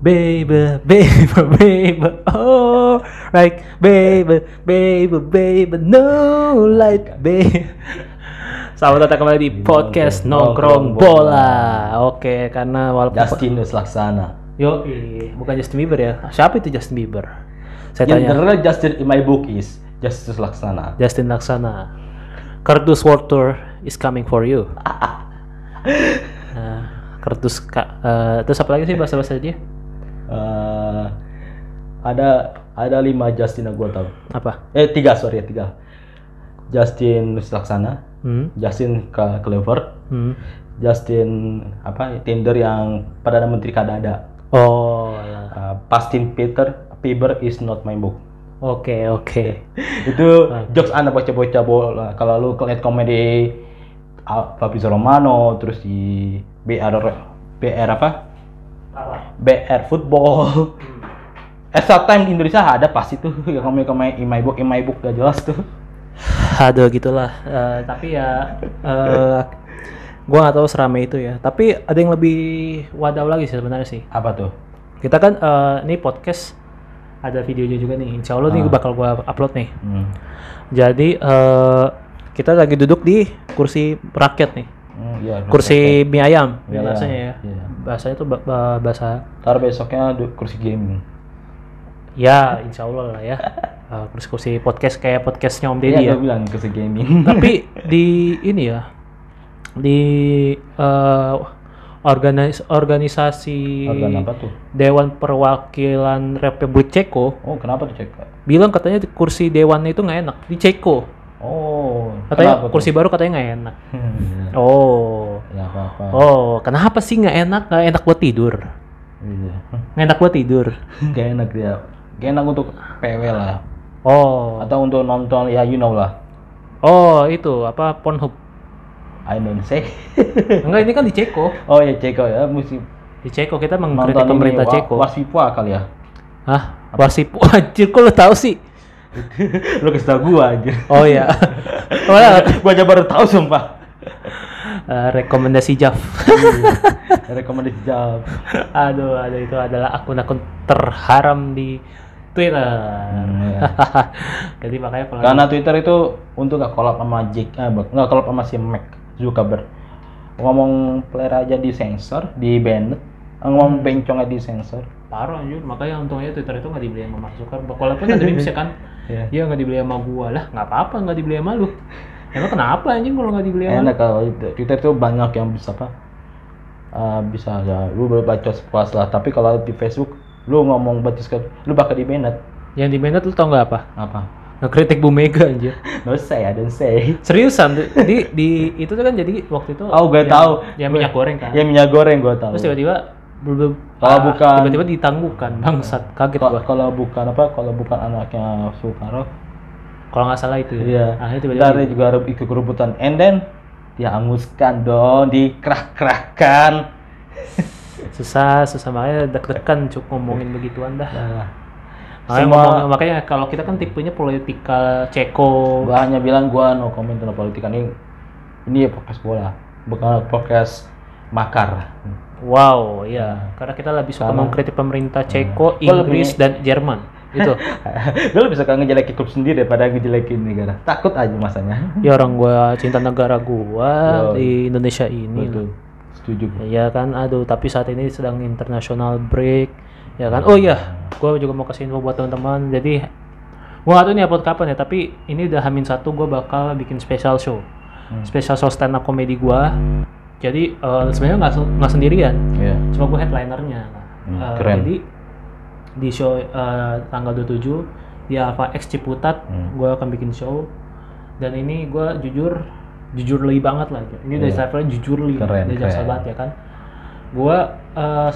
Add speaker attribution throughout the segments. Speaker 1: baby, baby, baby, oh, like baby, baby, baby, no light, baby. Selamat datang kembali di podcast Nongkrong
Speaker 2: Nongkrong
Speaker 1: Bola. Oke, karena walaupun
Speaker 2: Justinus Laksana.
Speaker 1: yo bukan Justin Bieber ya. Siapa itu Justin Bieber? Saya
Speaker 2: Yang
Speaker 1: tanya.
Speaker 2: terkenal Justin in my book is Justinus Laksana.
Speaker 1: Justin Laksana. Kardus World Tour is coming for you. Nah, Kardus ka, eh, terus apa lagi sih bahasa-bahasa dia?
Speaker 2: Eh, ada ada lima Justin yang gue tahu.
Speaker 1: Apa?
Speaker 2: Eh tiga sorry tiga. Justin Laksana,
Speaker 1: Hmm?
Speaker 2: Justin Cla- Clever,
Speaker 1: Hmm.
Speaker 2: Justin apa Tinder yang perdana menteri Kanada.
Speaker 1: Oh, ya.
Speaker 2: Eh, Justin Peter Bieber is not my book.
Speaker 1: Oke, oke.
Speaker 2: Itu
Speaker 1: Ah.
Speaker 2: jokes anak bocah-bocah bola. Kalau lu lihat komedi ah, Fabrizio Romano, terus di BR BR apa? BR football. Extra time di Indonesia ada pasti tuh yang kami kami imai book imai book gak jelas tuh.
Speaker 1: Aduh, gitulah. Eh, tapi ya eh gua gak tahu serame itu ya. Tapi ada yang lebih wadaw lagi sih sebenarnya sih.
Speaker 2: Apa tuh?
Speaker 1: Kita kan eh ini podcast ada videonya juga nih. Insya Allah nih bakal gua upload nih.
Speaker 2: Hmm.
Speaker 1: Jadi eh kita lagi duduk di kursi rakyat nih,
Speaker 2: Hmm, iya,
Speaker 1: kursi mie ayam
Speaker 2: Iya,
Speaker 1: biasanya ya.
Speaker 2: iya.
Speaker 1: Bahasanya tuh ba- ba- bahasa
Speaker 2: Ntar besoknya du- kursi gaming.
Speaker 1: ya Insya Allah lah ya. Eh, kursi-kursi podcast kayak podcastnya Om Deddy
Speaker 2: Iya,
Speaker 1: ya.
Speaker 2: gua bilang kursi gaming.
Speaker 1: Tapi di ini ya di eh, organis organisasi
Speaker 2: Organ apa tuh?
Speaker 1: Dewan Perwakilan Republik Ceko
Speaker 2: Oh, kenapa tuh cek?
Speaker 1: bilang katanya kursi dewannya itu nggak enak di Ceko.
Speaker 2: Oh,
Speaker 1: Katanya
Speaker 2: kenapa tuh?
Speaker 1: kursi baru katanya nggak enak.
Speaker 2: Hmm,
Speaker 1: Oh.
Speaker 2: ya apa-apa.
Speaker 1: Oh, kenapa sih nggak enak? Nggak enak buat tidur.
Speaker 2: Iya.
Speaker 1: Nggak enak buat tidur.
Speaker 2: Gak enak dia. Gak enak untuk PW lah.
Speaker 1: Oh,
Speaker 2: Atau untuk nonton ya you know lah.
Speaker 1: oh itu apa Pornhub?
Speaker 2: I don't say.
Speaker 1: Enggak, ini kan di Ceko.
Speaker 2: oh ya Ceko ya, mesti
Speaker 1: Di Ceko kita mengkritik Hmm,
Speaker 2: nonton
Speaker 1: pemerintah
Speaker 2: ini, wa-
Speaker 1: Ceko.
Speaker 2: Warsipwa kali ya.
Speaker 1: Hah? Warsip? Anjir, kok lo tahu sih?
Speaker 2: lu kasih tau gua anjir
Speaker 1: Oh ya. Iya.
Speaker 2: gua aja baru tahu sumpah
Speaker 1: Eh, rekomendasi Jaf.
Speaker 2: rekomendasi jawab
Speaker 1: aduh, aduh itu adalah akun-akun terharam di Twitter. Jadi makanya kalau
Speaker 2: Nah, ya. karena Twitter itu untuk gak kolab sama Jack eh, bak- nggak kolab sama si Mac Zuckerberg ngomong player aja di sensor di banned
Speaker 1: Hmm.
Speaker 2: ngomong bencongnya di sensor
Speaker 1: parah anjir, makanya untungnya Twitter itu nggak dibeli sama Mark Zuckerberg. Walaupun ada memes ya kan,
Speaker 2: Iya.
Speaker 1: Iya nggak dibeli sama gua lah, nggak apa-apa nggak dibeli sama lu. Emang kenapa anjing kalau nggak dibeli sama lu?
Speaker 2: enak kalau itu. Twitter tuh banyak yang bisa apa eh, bisa ya lu boleh baca sepuas lah tapi kalau di Facebook lu ngomong baca sepuas, lu bakal di banned
Speaker 1: Yang di mainnet lu tau nggak apa?
Speaker 2: apa
Speaker 1: Ngekritik Bu Mega anjir.
Speaker 2: no say I don't say
Speaker 1: Seriusan, di- di, di itu tuh kan jadi waktu itu
Speaker 2: Oh, gue
Speaker 1: yang-
Speaker 2: tahu.
Speaker 1: yang minyak goreng kan.
Speaker 2: ya minyak goreng gua tahu
Speaker 1: Iya. Terus tiba-tiba belum
Speaker 2: Kalau bukan-
Speaker 1: tiba-tiba ditangguhkan bangsat kaget
Speaker 2: Ko-
Speaker 1: gitu gua.
Speaker 2: kalau bukan apa kalau bukan anaknya Soekarno
Speaker 1: Kalau nggak salah itu. ya.
Speaker 2: iya
Speaker 1: Akhirnya tiba-tiba gitu.
Speaker 2: dari juga ada ikut kerubutan and then dihanguskan dong dikerah-kerahkan
Speaker 1: susah susah makanya deg-degan cuk ngomongin begituan dah.
Speaker 2: nah,
Speaker 1: Makanya,
Speaker 2: Semua-
Speaker 1: ngomong- makanya kalau kita kan tipenya politikal ceko.
Speaker 2: gua hanya bilang gua no comment tentang politik ini ini ya podcast bola bukan podcast makar
Speaker 1: Wow, ya. Karena kita lebih suka
Speaker 2: Karena-
Speaker 1: mengkritik pemerintah Ceko,
Speaker 2: Hmm. Gua lebih-
Speaker 1: Inggris, dan Jerman. Itu.
Speaker 2: lu lebih suka ngejelekin klub sendiri daripada ngejelekin negara takut aja masanya
Speaker 1: ya orang gua cinta negara gua
Speaker 2: Yo.
Speaker 1: di Indonesia ini.
Speaker 2: betul setuju gua.
Speaker 1: Ya kan, aduh. Tapi saat ini sedang international break. Ya kan. Oh iya, gua juga mau kasih info buat teman-teman. Jadi gua gak tahu ini upload kapan ya, tapi ini udah Hamin satu gua bakal bikin special show.
Speaker 2: Hmm,
Speaker 1: Special show stand up comedy gua. Jadi eh, sebenarnya nggak se- nggak sendirian.
Speaker 2: Iya.
Speaker 1: cuma gue headlinernya
Speaker 2: Hmm,
Speaker 1: Eh,
Speaker 2: keren.
Speaker 1: jadi di show eh, tanggal 27 di Alpha X Ciputat
Speaker 2: Hmm.
Speaker 1: gue akan bikin show dan ini gue jujur jujur li banget lah Jun. ini dari
Speaker 2: Iya.
Speaker 1: levelnya jujur li
Speaker 2: Keren,
Speaker 1: dari jaksa
Speaker 2: keren.
Speaker 1: banget ya kan gue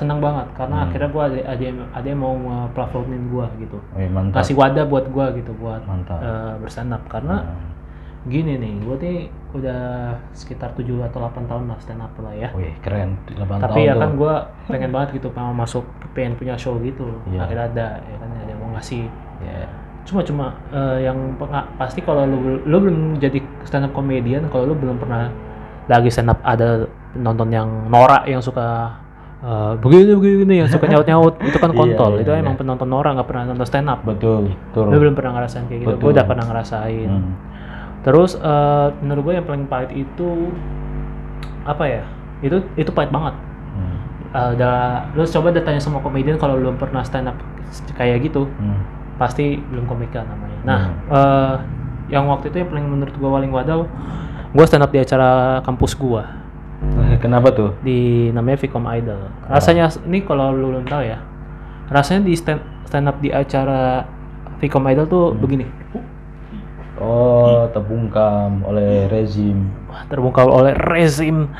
Speaker 1: senang banget karena
Speaker 2: Hmm.
Speaker 1: akhirnya gue ada, ada yang ada yang mau platformin gue gitu
Speaker 2: Wih, mantap
Speaker 1: kasih wadah buat gue gitu buat
Speaker 2: Mantap. Hmm.
Speaker 1: eh, berstand up karena gini nih gue nih udah sekitar 7 atau 8 tahun lah stand up lah ya
Speaker 2: Wih, keren. 8
Speaker 1: tapi
Speaker 2: tahun
Speaker 1: ya
Speaker 2: tuh.
Speaker 1: kan gue pengen banget gitu pengen masuk pengen punya show gitu
Speaker 2: Iya.
Speaker 1: akhirnya ada ya kan ada yang mau ngasih
Speaker 2: Iya.
Speaker 1: cuma cuma eh, yang penga- pasti kalau lu, lu belum jadi stand up comedian kalau lu belum pernah lagi stand up ada penonton yang norak yang suka eh, begini begini yang suka nyaut nyaut itu kan
Speaker 2: Iya,
Speaker 1: kontol
Speaker 2: iya,
Speaker 1: itu
Speaker 2: iya.
Speaker 1: emang penonton orang nggak pernah nonton stand up
Speaker 2: betul betul
Speaker 1: gue belum pernah ngerasain kayak gitu gue
Speaker 2: Betul.
Speaker 1: udah pernah ngerasain
Speaker 2: Hmm.
Speaker 1: terus eh, menurut gue yang paling pahit itu apa ya itu itu pahit banget
Speaker 2: Hmm.
Speaker 1: Eh, udah lu coba deh tanya semua komedian kalau belum pernah stand up kayak gitu
Speaker 2: Hmm.
Speaker 1: pasti belum komika namanya. Nah, eh, yang waktu itu yang paling menurut gua paling wadaw, gua stand up di acara kampus gua
Speaker 2: Eh, kenapa tuh
Speaker 1: di namanya Vicom Idol. Rasanya ini kalau lu belum tahu ya, rasanya di stand stand up di acara Vicom Idol tuh begini,
Speaker 2: oh terbungkam oleh rezim
Speaker 1: Wah, terbungkam oleh rezim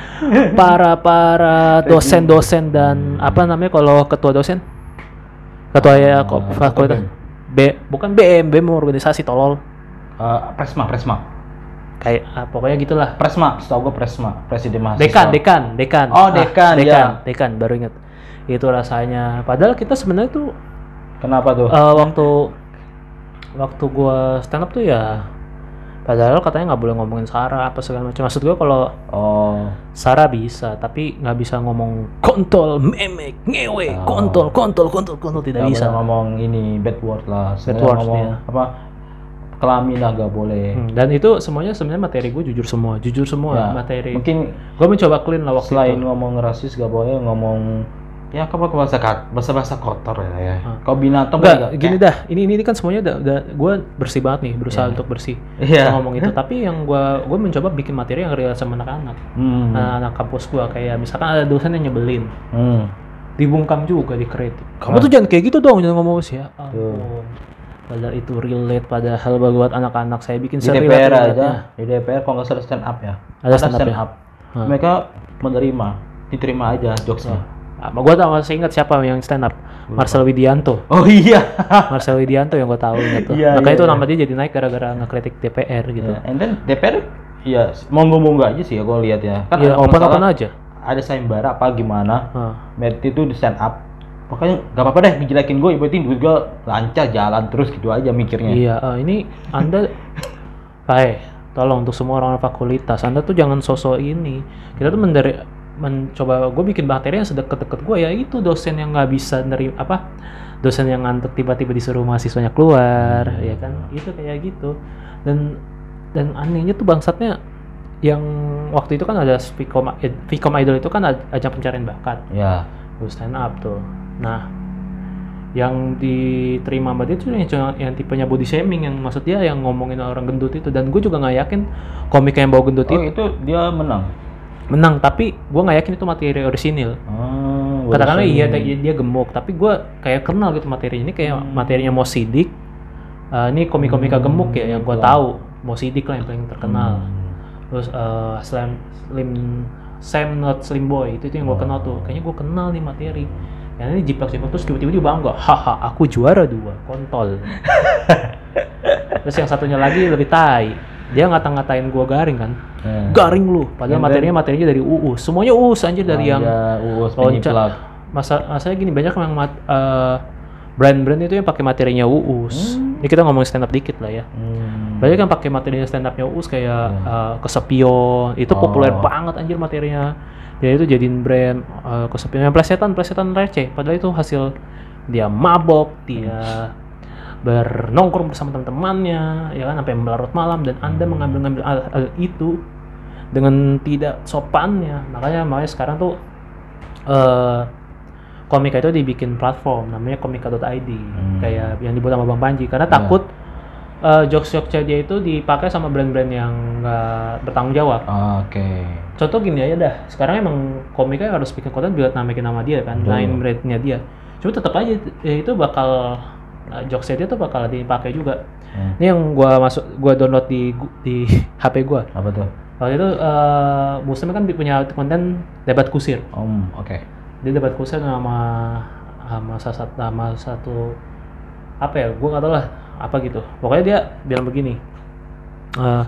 Speaker 1: para para dosen-dosen dan apa namanya kalau ketua dosen, ketua ya kok
Speaker 2: Ah,
Speaker 1: fakultas.
Speaker 2: ketua
Speaker 1: B, bukan BM, BM organisasi tolol.
Speaker 2: Eh, presma presma
Speaker 1: Kayak ah, pokoknya gitulah.
Speaker 2: presma setahu gue presma presiden mahasiswa
Speaker 1: dekan dekan dekan Ah,
Speaker 2: Oh, dekan, ya.
Speaker 1: dekan dekan baru inget itu rasanya padahal kita sebenarnya tuh
Speaker 2: kenapa tuh
Speaker 1: eh, waktu waktu gua stand up tuh ya padahal katanya nggak boleh ngomongin Sarah apa segala macam maksud gua kalau
Speaker 2: oh
Speaker 1: Sarah bisa tapi nggak bisa ngomong kontol memek ngewe
Speaker 2: Oh.
Speaker 1: kontol kontol kontol kontol tidak
Speaker 2: nggak
Speaker 1: bisa
Speaker 2: boleh ngomong ini bad word lah
Speaker 1: Bad
Speaker 2: Nggak
Speaker 1: word,
Speaker 2: ngomong
Speaker 1: iya.
Speaker 2: apa kelamin lah gak boleh
Speaker 1: Hmm, dan itu semuanya sebenarnya materi gue jujur semua jujur semua
Speaker 2: Ya,
Speaker 1: materi
Speaker 2: mungkin
Speaker 1: gue mencoba clean lah waktu
Speaker 2: selain
Speaker 1: itu
Speaker 2: ngomong rasis gak boleh ngomong ya apa ke bahasa bahasa bahasa kotor ya, ya.
Speaker 1: Hmm.
Speaker 2: kau binatang
Speaker 1: Enggak, gini dah ini ini ini kan semuanya udah, gue bersih banget nih berusaha
Speaker 2: Iya.
Speaker 1: untuk bersih
Speaker 2: iya
Speaker 1: ngomong itu tapi yang gua gua mencoba bikin materi yang relate sama anak-anak
Speaker 2: hmm.
Speaker 1: anak-anak kampus gua kayak misalkan ada dosen yang nyebelin
Speaker 2: Hmm.
Speaker 1: dibungkam juga dikritik kamu
Speaker 2: Ah.
Speaker 1: tuh jangan kayak gitu dong jangan ngomong sih ya ampun.
Speaker 2: Tuh.
Speaker 1: padahal itu relate padahal buat anak-anak saya bikin
Speaker 2: di DPR aja
Speaker 1: relate-relate-nya.
Speaker 2: di DPR kalau nggak salah stand up ya
Speaker 1: Ada stand up ya? Hmm.
Speaker 2: mereka menerima diterima aja jokesnya
Speaker 1: Ah, gua tahu masih ingat siapa yang stand up Marcel Widianto
Speaker 2: oh iya
Speaker 1: Marcel Widianto yang gua tahu ingat tuh
Speaker 2: Iya,
Speaker 1: makanya
Speaker 2: iya,
Speaker 1: itu
Speaker 2: iya.
Speaker 1: nama dia jadi naik gara-gara ngekritik DPR gitu
Speaker 2: Ya, and then DPR ya monggo monggo aja sih ya gue lihat ya kan
Speaker 1: Iya,
Speaker 2: kalau
Speaker 1: open
Speaker 2: nggak
Speaker 1: open
Speaker 2: salah,
Speaker 1: aja
Speaker 2: ada sayembara apa gimana
Speaker 1: Ah.
Speaker 2: Merti itu di stand up pokoknya nggak apa-apa deh ngejelekin gue ibaratnya duit gue lancar jalan terus gitu aja mikirnya
Speaker 1: Iya, eh, ini Anda Hai, tolong untuk semua orang fakultas, Anda tuh jangan sosok ini. Kita tuh mendari mencoba gue bikin bakteri yang sedekat-dekat gue ya itu dosen yang nggak bisa nerima apa dosen yang ngantuk tiba-tiba disuruh mahasiswanya keluar ya kan itu kayak gitu dan dan anehnya tuh bangsatnya yang waktu itu kan ada Vicom, Vicom Idol itu kan aj- ajang pencarian bakat
Speaker 2: ya
Speaker 1: lu stand up tuh nah yang diterima sama dia tuh yang, yang tipenya body shaming yang maksud dia yang ngomongin orang gendut itu dan gue juga nggak yakin komik yang bawa gendut
Speaker 2: oh iya.
Speaker 1: itu
Speaker 2: itu dia menang
Speaker 1: menang tapi gue nggak yakin itu materi orisinil
Speaker 2: oh,
Speaker 1: katakanlah
Speaker 2: barusan.
Speaker 1: iya dia, dia gemuk tapi gue kayak kenal gitu materi ini kayak materinya Mo Sidik Eh, ini komik-komika
Speaker 2: Hmm,
Speaker 1: gemuk ya yang gue
Speaker 2: iya.
Speaker 1: tahu Mo Sidik lah yang paling terkenal
Speaker 2: Hmm.
Speaker 1: terus eh, Slam Slim Sam not Slim Boy itu, itu yang gue
Speaker 2: Oh.
Speaker 1: kenal tuh kayaknya gue kenal nih materi yang ini jiplak jiplak terus tiba-tiba dia bangga haha aku juara dua kontol terus yang satunya lagi lebih tai dia ngata-ngatain gue garing kan
Speaker 2: Eh.
Speaker 1: garing lu padahal
Speaker 2: And then- Oh,
Speaker 1: materinya materinya dari UU semuanya UUS anjir dari
Speaker 2: Iya,
Speaker 1: yang
Speaker 2: Ada uus
Speaker 1: loncat
Speaker 2: penyiplat
Speaker 1: masa masanya gini banyak yang mat, eh, brand-brand itu yang pakai materinya UUS ini kita ngomong stand up dikit lah ya
Speaker 2: Hmm. Iya.
Speaker 1: banyak yang pakai materinya stand up-nya Uus kayak uh, kesepion itu
Speaker 2: Oh.
Speaker 1: populer banget anjir materinya dia itu jadiin brand uh, kesepion yang plesetan plesetan receh padahal itu hasil dia mabok
Speaker 2: Hmm.
Speaker 1: dia bernongkrong bersama teman-temannya ya kan sampai larut malam dan anda
Speaker 2: Hmm.
Speaker 1: mengambil-ngambil hal, hal itu dengan tidak sopannya makanya makanya sekarang tuh eh komika itu dibikin platform namanya komika.id
Speaker 2: Hmm.
Speaker 1: kayak yang dibuat sama bang Panji karena
Speaker 2: Iya.
Speaker 1: takut eh jokes jokesnya dia itu dipakai sama brand-brand yang nggak bertanggung jawab
Speaker 2: Oke.
Speaker 1: contoh gini aja dah sekarang emang komika yang harus bikin konten buat namakin nama dia kan
Speaker 2: Betul.
Speaker 1: lain brandnya dia cuma tetap aja eh, itu bakal eh, jokesnya dia tuh bakal dipakai juga
Speaker 2: Hmm.
Speaker 1: ini yang gua masuk gua download di gu- di HP gua
Speaker 2: Apa tuh?
Speaker 1: waktu itu eh Busem kan punya konten debat kusir
Speaker 2: Om, oke.
Speaker 1: dia debat kusir sama sama satu sama satu apa ya gue nggak tahu lah apa gitu pokoknya dia bilang begini eh,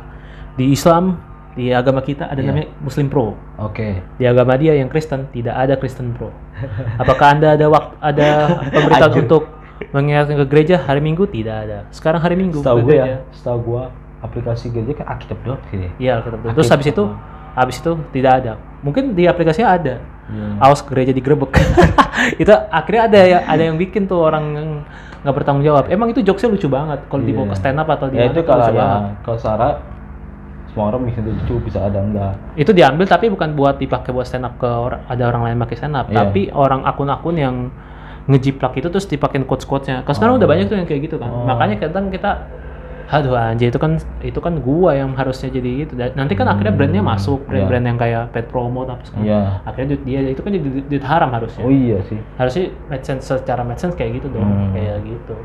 Speaker 1: di Islam di agama kita ada
Speaker 2: Iya.
Speaker 1: namanya Muslim Pro
Speaker 2: Oke.
Speaker 1: di agama dia yang Kristen tidak ada Kristen Pro apakah anda ada waktu ada pemberitaan
Speaker 2: Anjir.
Speaker 1: untuk mengingatkan ke gereja hari Minggu tidak ada sekarang hari Minggu
Speaker 2: Setahu
Speaker 1: ke
Speaker 2: gue
Speaker 1: gereja.
Speaker 2: ya, setahu gue aplikasi gereja kan Alkitab doang sih.
Speaker 1: Iya, Alkitab. Terus
Speaker 2: Aktif.
Speaker 1: habis itu habis itu tidak ada. Mungkin di aplikasinya ada.
Speaker 2: Iya.
Speaker 1: Awas gereja digerebek. itu akhirnya ada ya ada yang bikin tuh orang yang nggak bertanggung jawab. Emang itu jokesnya lucu banget kalau dibawa
Speaker 2: Iya.
Speaker 1: ke stand up atau di
Speaker 2: ya
Speaker 1: mana
Speaker 2: itu
Speaker 1: tuh
Speaker 2: kalau
Speaker 1: lucu banget.
Speaker 2: ya kalau Sarah semua orang bisa lucu bisa ada enggak
Speaker 1: Itu diambil tapi bukan buat dipakai buat stand up ke orang, ada orang lain pakai stand up,
Speaker 2: Iya.
Speaker 1: tapi orang akun-akun yang ngejiplak itu terus dipakein quotes-quotesnya. Karena sekarang
Speaker 2: Oh.
Speaker 1: udah banyak tuh yang kayak gitu kan.
Speaker 2: Oh.
Speaker 1: Makanya kadang kita aduh anjir itu kan itu kan gua yang harusnya jadi gitu. Dan Nanti kan akhirnya brandnya masuk, brand-brand yang kayak pet promo apa segala
Speaker 2: Hmm. iya
Speaker 1: akhirnya duit dia itu kan jadi duit, duit haram harusnya
Speaker 2: oh iya sih
Speaker 1: harusnya medsense secara medsense kayak gitu dong
Speaker 2: Hmm.
Speaker 1: kayak gitu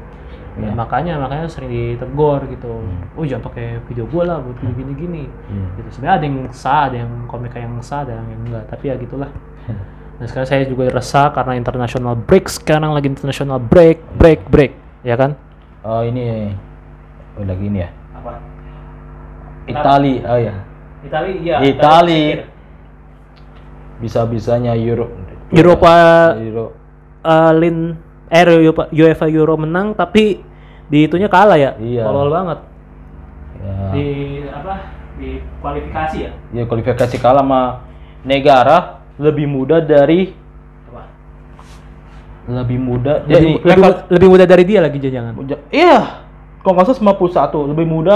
Speaker 1: Ya,
Speaker 2: Iya. Hmm.
Speaker 1: makanya makanya sering ditegur gitu oh jangan pakai video gua lah buat gini gini gini
Speaker 2: Iya.
Speaker 1: gitu sebenarnya ada yang sah ada yang komika yang sah ada yang enggak tapi ya gitulah
Speaker 2: Hmm.
Speaker 1: nah sekarang saya juga resah karena international break sekarang lagi international break break break ya kan
Speaker 2: oh ini oh, lagi ini ya
Speaker 1: apa
Speaker 2: Itali oh ya
Speaker 1: Itali iya
Speaker 2: Itali bisa-bisanya Euro
Speaker 1: Eropa
Speaker 2: Euro
Speaker 1: eh, Lin eh Europa- UEFA Euro menang tapi di itunya kalah ya
Speaker 2: Iya.
Speaker 1: tolol banget
Speaker 2: ya,
Speaker 1: di apa di kualifikasi ya
Speaker 2: ya kualifikasi kalah sama negara lebih muda dari
Speaker 1: apa
Speaker 2: lebih muda
Speaker 1: lebih,
Speaker 2: dari
Speaker 1: lebih, lebih muda dari dia lagi jangan
Speaker 2: Uja- Iya. Kalau nggak salah 91 lebih muda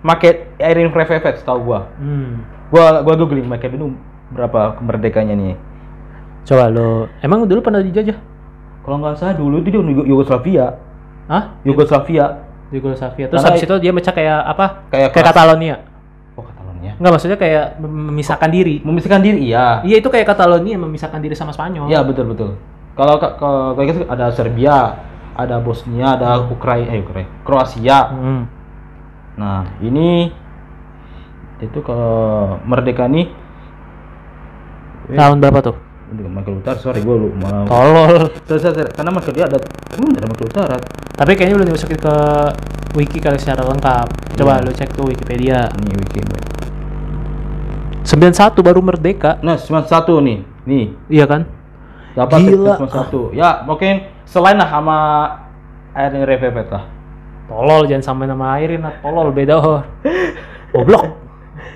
Speaker 2: make Erin Fevefet tahu gua.
Speaker 1: hmm.
Speaker 2: Gua gua googling make itu berapa kemerdekaannya nih.
Speaker 1: coba lo emang dulu pernah dijajah
Speaker 2: Kalau nggak salah dulu itu dia Yugo- Yugoslavia.
Speaker 1: Hah?
Speaker 2: Yugoslavia
Speaker 1: di Yugoslavia terus
Speaker 2: Karena-
Speaker 1: habis itu dia mecah kayak apa
Speaker 2: kayak
Speaker 1: kayak Catalonia
Speaker 2: oh, Katalonia.
Speaker 1: nggak maksudnya kayak mem- memisahkan diri
Speaker 2: Memisahkan diri iya.
Speaker 1: iya itu kayak Catalonia memisahkan diri sama Spanyol
Speaker 2: Iya betul betul. Kalau ka- kalau kayak gitu ada Serbia, ada Bosnia, ada Ukraina, eh Ukraina, Kroasia.
Speaker 1: Hmm.
Speaker 2: Nah, ini itu kalau merdeka nih Eh.
Speaker 1: tahun berapa tuh
Speaker 2: Aduh, Michael Utara, sorry gue lu mau
Speaker 1: tolol
Speaker 2: Sorry, sorry, sorry. karena Michael dia ada hmm, ada Michael Utara
Speaker 1: tapi kayaknya belum dimasukin ke wiki kali secara lengkap coba lo cek tuh Wikipedia
Speaker 2: ini wiki
Speaker 1: 91 baru merdeka
Speaker 2: nah 91 nih nih
Speaker 1: iya kan
Speaker 2: dapat
Speaker 1: Gila.
Speaker 2: 91 ya mungkin selain lah sama Erin Revevet lah
Speaker 1: Tolol jangan sampai nama Airin lah, tolol beda hor. Goblok.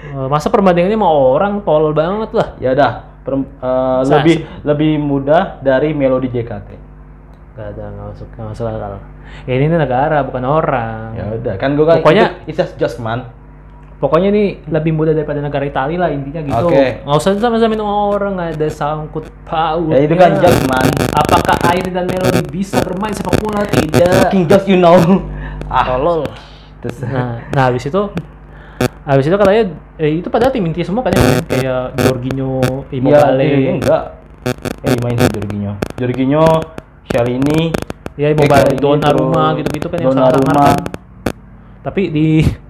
Speaker 1: Eh, Masa perbandingannya sama orang tolol banget lah.
Speaker 2: ya dah perem- eh,
Speaker 1: Sa-
Speaker 2: lebih lebih mudah dari Melody JKT
Speaker 1: Gak ada nggak masuk nggak masuk akal. Ya, Ini nih negara bukan orang.
Speaker 2: ya udah kan gue kan
Speaker 1: Pokoknya-
Speaker 2: itu- it's just judgment
Speaker 1: Pokoknya ini lebih mudah daripada negara Italia lah intinya gitu.
Speaker 2: Oke.
Speaker 1: Nggak usah sama-sama minum orang nggak ada sangkut paut.
Speaker 2: ya itu kan judgment
Speaker 1: Apakah Airin dan Melody bisa bermain sepak bola? Tidak.
Speaker 2: fucking just you know ah
Speaker 1: Tolol.
Speaker 2: terus
Speaker 1: Nah, nah habis itu habis itu katanya eh, itu padahal tim inti semua kan ya, kayak Jorginho,
Speaker 2: ya
Speaker 1: Immobile.
Speaker 2: Jorginho enggak eh main sih Jorginho Jorginho Shalini
Speaker 1: Ya
Speaker 2: Iya, Kayak gitu.
Speaker 1: mobile
Speaker 2: Shalini,
Speaker 1: Donnarumma
Speaker 2: terus
Speaker 1: gitu-gitu kan yang salah
Speaker 2: Donnarumma.
Speaker 1: kamar kan. Tapi di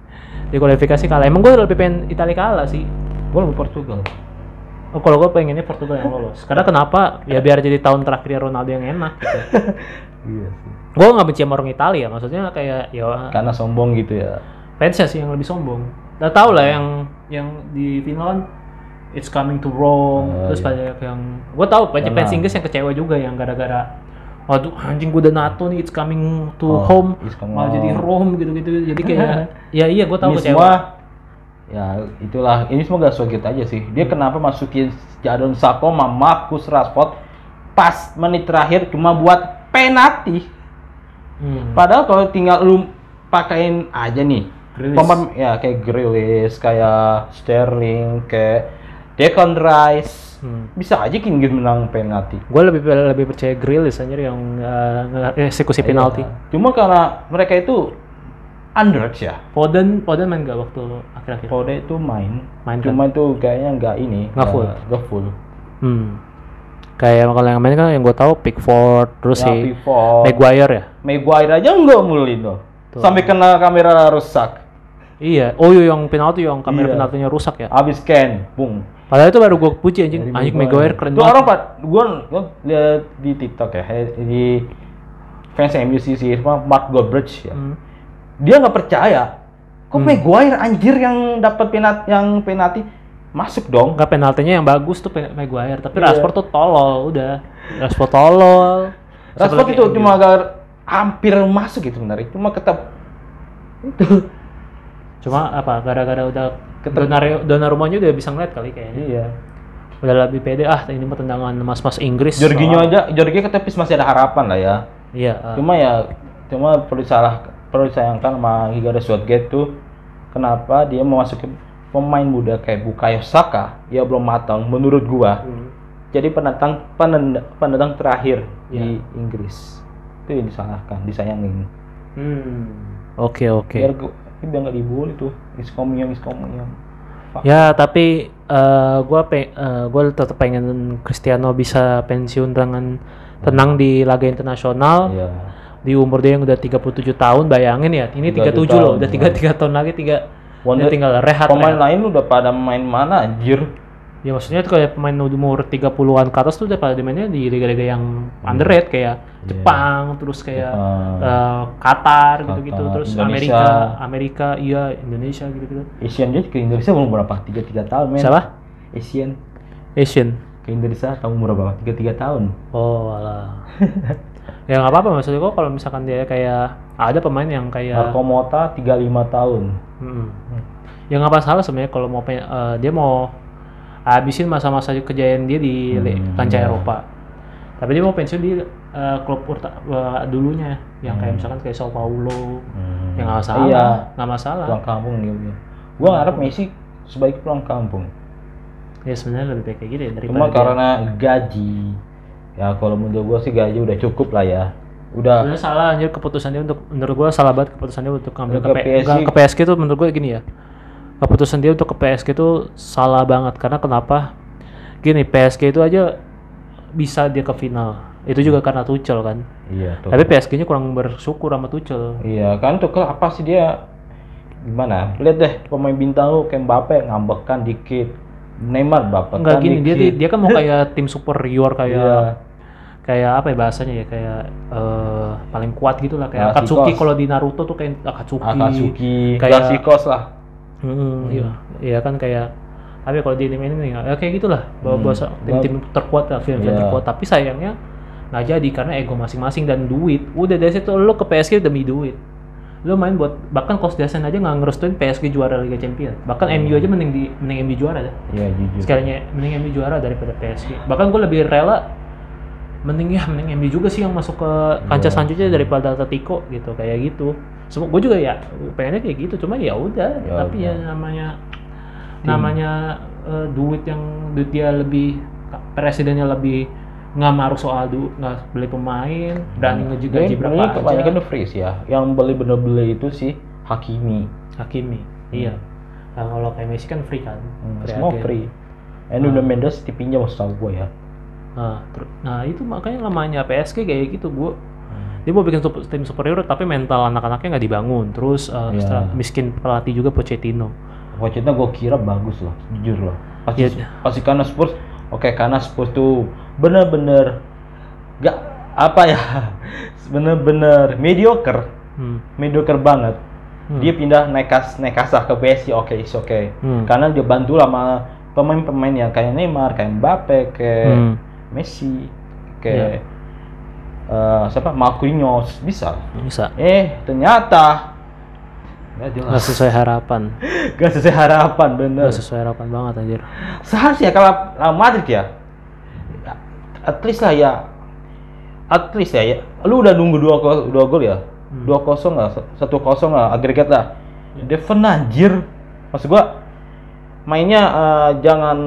Speaker 1: di kualifikasi kalah. Emang gue lebih pengen Italia kalah sih.
Speaker 2: Gua lebih Portugal.
Speaker 1: Oh, kalau gue pengennya Portugal yang lolos. Karena kenapa? Ya biar jadi tahun terakhirnya Ronaldo yang enak. Gitu.
Speaker 2: Iya sih.
Speaker 1: Gue nggak benci sama orang Italia. Maksudnya kayak ya
Speaker 2: Karena sombong gitu ya.
Speaker 1: fansnya sih yang lebih sombong. Udah tau lah yang yang di final kan it's coming to Rome.
Speaker 2: Oh,
Speaker 1: terus
Speaker 2: iya.
Speaker 1: banyak yang gue tau banyak
Speaker 2: Karena-
Speaker 1: fans Inggris yang kecewa juga yang gara-gara Waduh anjing gue udah NATO nih it's coming to
Speaker 2: Oh,
Speaker 1: home
Speaker 2: it's coming
Speaker 1: malah jadi
Speaker 2: home.
Speaker 1: Rome gitu-gitu jadi kayak ya iya gue tau
Speaker 2: ini semua
Speaker 1: kecewa
Speaker 2: ya itulah ini semua gak sulit aja sih. Dia kenapa masukin Jadon Sako sama Marcus Rashford pas menit terakhir cuma buat penalti.
Speaker 1: Hmm.
Speaker 2: Padahal kalau tinggal lu pakain aja nih.
Speaker 1: Grealish.
Speaker 2: Pemain ya kayak Grealish, kayak Sterling, kayak Declan Rice.
Speaker 1: Hmm.
Speaker 2: Bisa aja King menang penalti.
Speaker 1: gue lebih lebih percaya Grealish anjir yang uh, eksekusi penalti
Speaker 2: Iya. Cuma karena mereka itu underage ya.
Speaker 1: Foden Foden main gak waktu akhir-akhir
Speaker 2: Kode itu main,
Speaker 1: Main kan?
Speaker 2: cuma itu kayaknya nggak ini,
Speaker 1: Nggak full.
Speaker 2: nggak full.
Speaker 1: hmm. kayak kalau yang main kan yang gue tahu Pickford terus
Speaker 2: Ya,
Speaker 1: si
Speaker 2: pivot.
Speaker 1: Maguire ya
Speaker 2: Maguire aja nggak mulin loh,
Speaker 1: Tuh.
Speaker 2: sampai kena kamera rusak.
Speaker 1: Iya, oh iya yang penalti yang kamera
Speaker 2: Iya.
Speaker 1: penaltinya rusak ya.
Speaker 2: Abis scan, bung.
Speaker 1: Padahal itu baru gue puji anjing.
Speaker 2: Dari
Speaker 1: Anjing Maguire
Speaker 2: Maguire.
Speaker 1: keren
Speaker 2: Tuh
Speaker 1: banget.
Speaker 2: orang pak, gua, gua lihat di TikTok ya, eh, di fans MU sih sih, sama Mark Goldbridge ya.
Speaker 1: Hmm.
Speaker 2: Dia nggak percaya, kok Maguire anjir yang dapat penat yang penalti masuk dong.
Speaker 1: Enggak penaltinya yang bagus tuh pen- Maguire, tapi
Speaker 2: Iya.
Speaker 1: Rashford tuh tolol udah. Rashford tolol.
Speaker 2: Rashford
Speaker 1: Satu
Speaker 2: itu
Speaker 1: lagi
Speaker 2: cuma
Speaker 1: MU.
Speaker 2: agar hampir masuk gitu menarik, cuma ketep
Speaker 1: cuma apa gara-gara udah
Speaker 2: Keter-
Speaker 1: donor donor rumahnya udah bisa ngeliat kali kayaknya.
Speaker 2: Iya.
Speaker 1: udah lebih pede ah ini mah tendangan mas-mas Inggris
Speaker 2: Jorginho
Speaker 1: soalnya.
Speaker 2: aja, Jorginho ke tepis masih ada harapan lah ya.
Speaker 1: iya ah.
Speaker 2: Cuma ya, cuma perlu salah perlu disayangkan sama Higare Swatgate tuh kenapa dia memasuki pemain muda kayak Bukayo Saka dia belum matang menurut gua
Speaker 1: Hmm.
Speaker 2: jadi pendatang penenda- pendatang terakhir
Speaker 1: Iya.
Speaker 2: di Inggris itu yang disalahkan disayangin
Speaker 1: Hmm. oke oke
Speaker 2: biar gua biar nggak dibully tuh iskomium iskomium
Speaker 1: Ya, tapi eh gue pe eh, gua tetap pengen Cristiano bisa pensiun dengan tenang di laga internasional
Speaker 2: Iya.
Speaker 1: di umur dia yang udah 37 tahun bayangin ya ini 37
Speaker 2: 37
Speaker 1: loh
Speaker 2: tahun, iya.
Speaker 1: udah 33 tahun lagi tiga dia ya.
Speaker 2: Wonder-
Speaker 1: tinggal rehat,
Speaker 2: pemain
Speaker 1: rehat.
Speaker 2: lain udah pada main mana anjir
Speaker 1: ya maksudnya tuh kayak pemain umur 30-an ke atas tuh udah pada mainnya di liga-liga yang underrated kayak Jepang terus kayak
Speaker 2: Hmm. Iya. Jepang.
Speaker 1: eh, Qatar gitu-gitu
Speaker 2: Qatar,
Speaker 1: terus
Speaker 2: Indonesia.
Speaker 1: Amerika Amerika iya Indonesia gitu-gitu
Speaker 2: Asian Games ke Indonesia belum berapa tiga tiga tahun men
Speaker 1: siapa
Speaker 2: Asian
Speaker 1: Asian
Speaker 2: ke Indonesia tahun berapa tiga tiga tahun
Speaker 1: Oh, alah. ya nggak apa-apa maksud gua kalau misalkan dia kayak ada pemain yang kayak
Speaker 2: Marco Mota 35 tahun
Speaker 1: Mm-mm. ya nggak masalah sebenarnya kalau mau pe- eh, dia mau habisin masa-masa kejayaan dia di li-
Speaker 2: Hmm,
Speaker 1: kancah
Speaker 2: iya.
Speaker 1: Eropa tapi dia mau pensiun di eh, klub perta- eh, dulunya yang kayak misalkan kayak Sao Paulo ya nggak masalah
Speaker 2: Hmm. iya
Speaker 1: nggak masalah
Speaker 2: pulang kampung dia punya. gua ngarep Messi sebaiknya pulang kampung
Speaker 1: ya sebenarnya lebih baik kayak gitu ya daripada
Speaker 2: cuma
Speaker 1: dia-
Speaker 2: karena gaji ya kalau menurut gua sih gaji udah cukup lah ya udah
Speaker 1: sebenarnya salah anjir keputusan dia untuk menurut gua salah banget keputusan dia untuk ngambil ke,
Speaker 2: Ke PSG.
Speaker 1: PSG. ke PSG tuh menurut gua gini ya keputusan dia untuk ke PSG itu salah banget karena kenapa gini PSG itu aja bisa dia ke final itu juga karena Tuchel kan
Speaker 2: iya tuh
Speaker 1: tapi PSG-nya kurang bersyukur sama Tuchel
Speaker 2: iya kan tuh kalau apa sih dia gimana lihat deh pemain bintang lu kayak Mbappe ngambekan dikit Neymar bapekan
Speaker 1: enggak gini dia
Speaker 2: dikit.
Speaker 1: dia kan mau kayak tim superior kayak
Speaker 2: Iya.
Speaker 1: kayak apa ya bahasanya ya kayak eh, paling kuat gitu lah kayak
Speaker 2: Nah,
Speaker 1: Akatsuki
Speaker 2: Sikos.
Speaker 1: kalau di Naruto tuh kayak Akatsuki,
Speaker 2: Akatsuki,
Speaker 1: kayak-
Speaker 2: Gasikos lah.
Speaker 1: Hmm, iya. Iya kan kayak tapi kalau di tim ini ya kayak gitulah bahwa bahwa
Speaker 2: Hmm.
Speaker 1: tim-tim terkuat lah film-film
Speaker 2: Iya.
Speaker 1: terkuat tapi sayangnya nggak jadi karena ego masing-masing dan duit udah dari situ lo ke PSG demi duit lo main buat bahkan Coach Dasen aja nggak ngerestuin PSG juara Liga Champions bahkan MU aja mending di mending MU juara dah
Speaker 2: Iya jujur.
Speaker 1: sekalinya mending MU juara daripada PSG bahkan gue lebih rela mending ya mending MU juga sih yang masuk ke kancah
Speaker 2: Iya.
Speaker 1: selanjutnya daripada Atletico gitu kayak gitu semua gue juga ya pengennya kayak gitu cuma ya udah
Speaker 2: Ya
Speaker 1: tapi ya namanya namanya eh, duit yang duit dia lebih presidennya lebih nggak maruh soal du nggak beli pemain berani ngeji gaji berapa
Speaker 2: Hmm. Ini kebanyakan
Speaker 1: aja
Speaker 2: tuh freeze ya. Yang beli bener-bener itu sih Hakimi.
Speaker 1: Hakimi iya nah, kalau kayak Messi kan free kan
Speaker 2: Hmm,
Speaker 1: Free
Speaker 2: semua
Speaker 1: agent.
Speaker 2: free. Endo dan Mendes dipinjam setahu gue ya.
Speaker 1: Nah, ter- nah itu makanya lamanya PSG kayak gitu bu dia mau bikin sup- tim superior tapi mental anak-anaknya nggak dibangun terus uh,
Speaker 2: Iya.
Speaker 1: setelah miskin pelatih juga Pochettino
Speaker 2: Pochettino gue kira bagus loh, jujur loh. Pasti
Speaker 1: Iya.
Speaker 2: pasti karena Spurs, oke karena Spurs tuh bener-bener gak apa ya, bener-bener mediocre,
Speaker 1: hmm.
Speaker 2: mediocre banget.
Speaker 1: Hmm.
Speaker 2: Dia pindah nekas nekasah ke PSG, oke is oke.
Speaker 1: Hmm.
Speaker 2: Karena dia bantu sama pemain-pemain yang kayak Neymar, kayak Mbappe, kayak
Speaker 1: Hmm.
Speaker 2: Messi kayak eh, siapa Marquinhos bisa
Speaker 1: bisa
Speaker 2: eh ternyata nggak
Speaker 1: nggak
Speaker 2: jelas
Speaker 1: sesuai harapan
Speaker 2: nggak sesuai harapan bener
Speaker 1: nggak sesuai harapan banget anjir
Speaker 2: seharusnya ya, kalau Real Madrid ya at least lah ya at least ya, ya. lu udah nunggu dua gol dua gol ya dua kosong lah satu kosong lah agregat lah Defen anjir maksud gua mainnya eh, jangan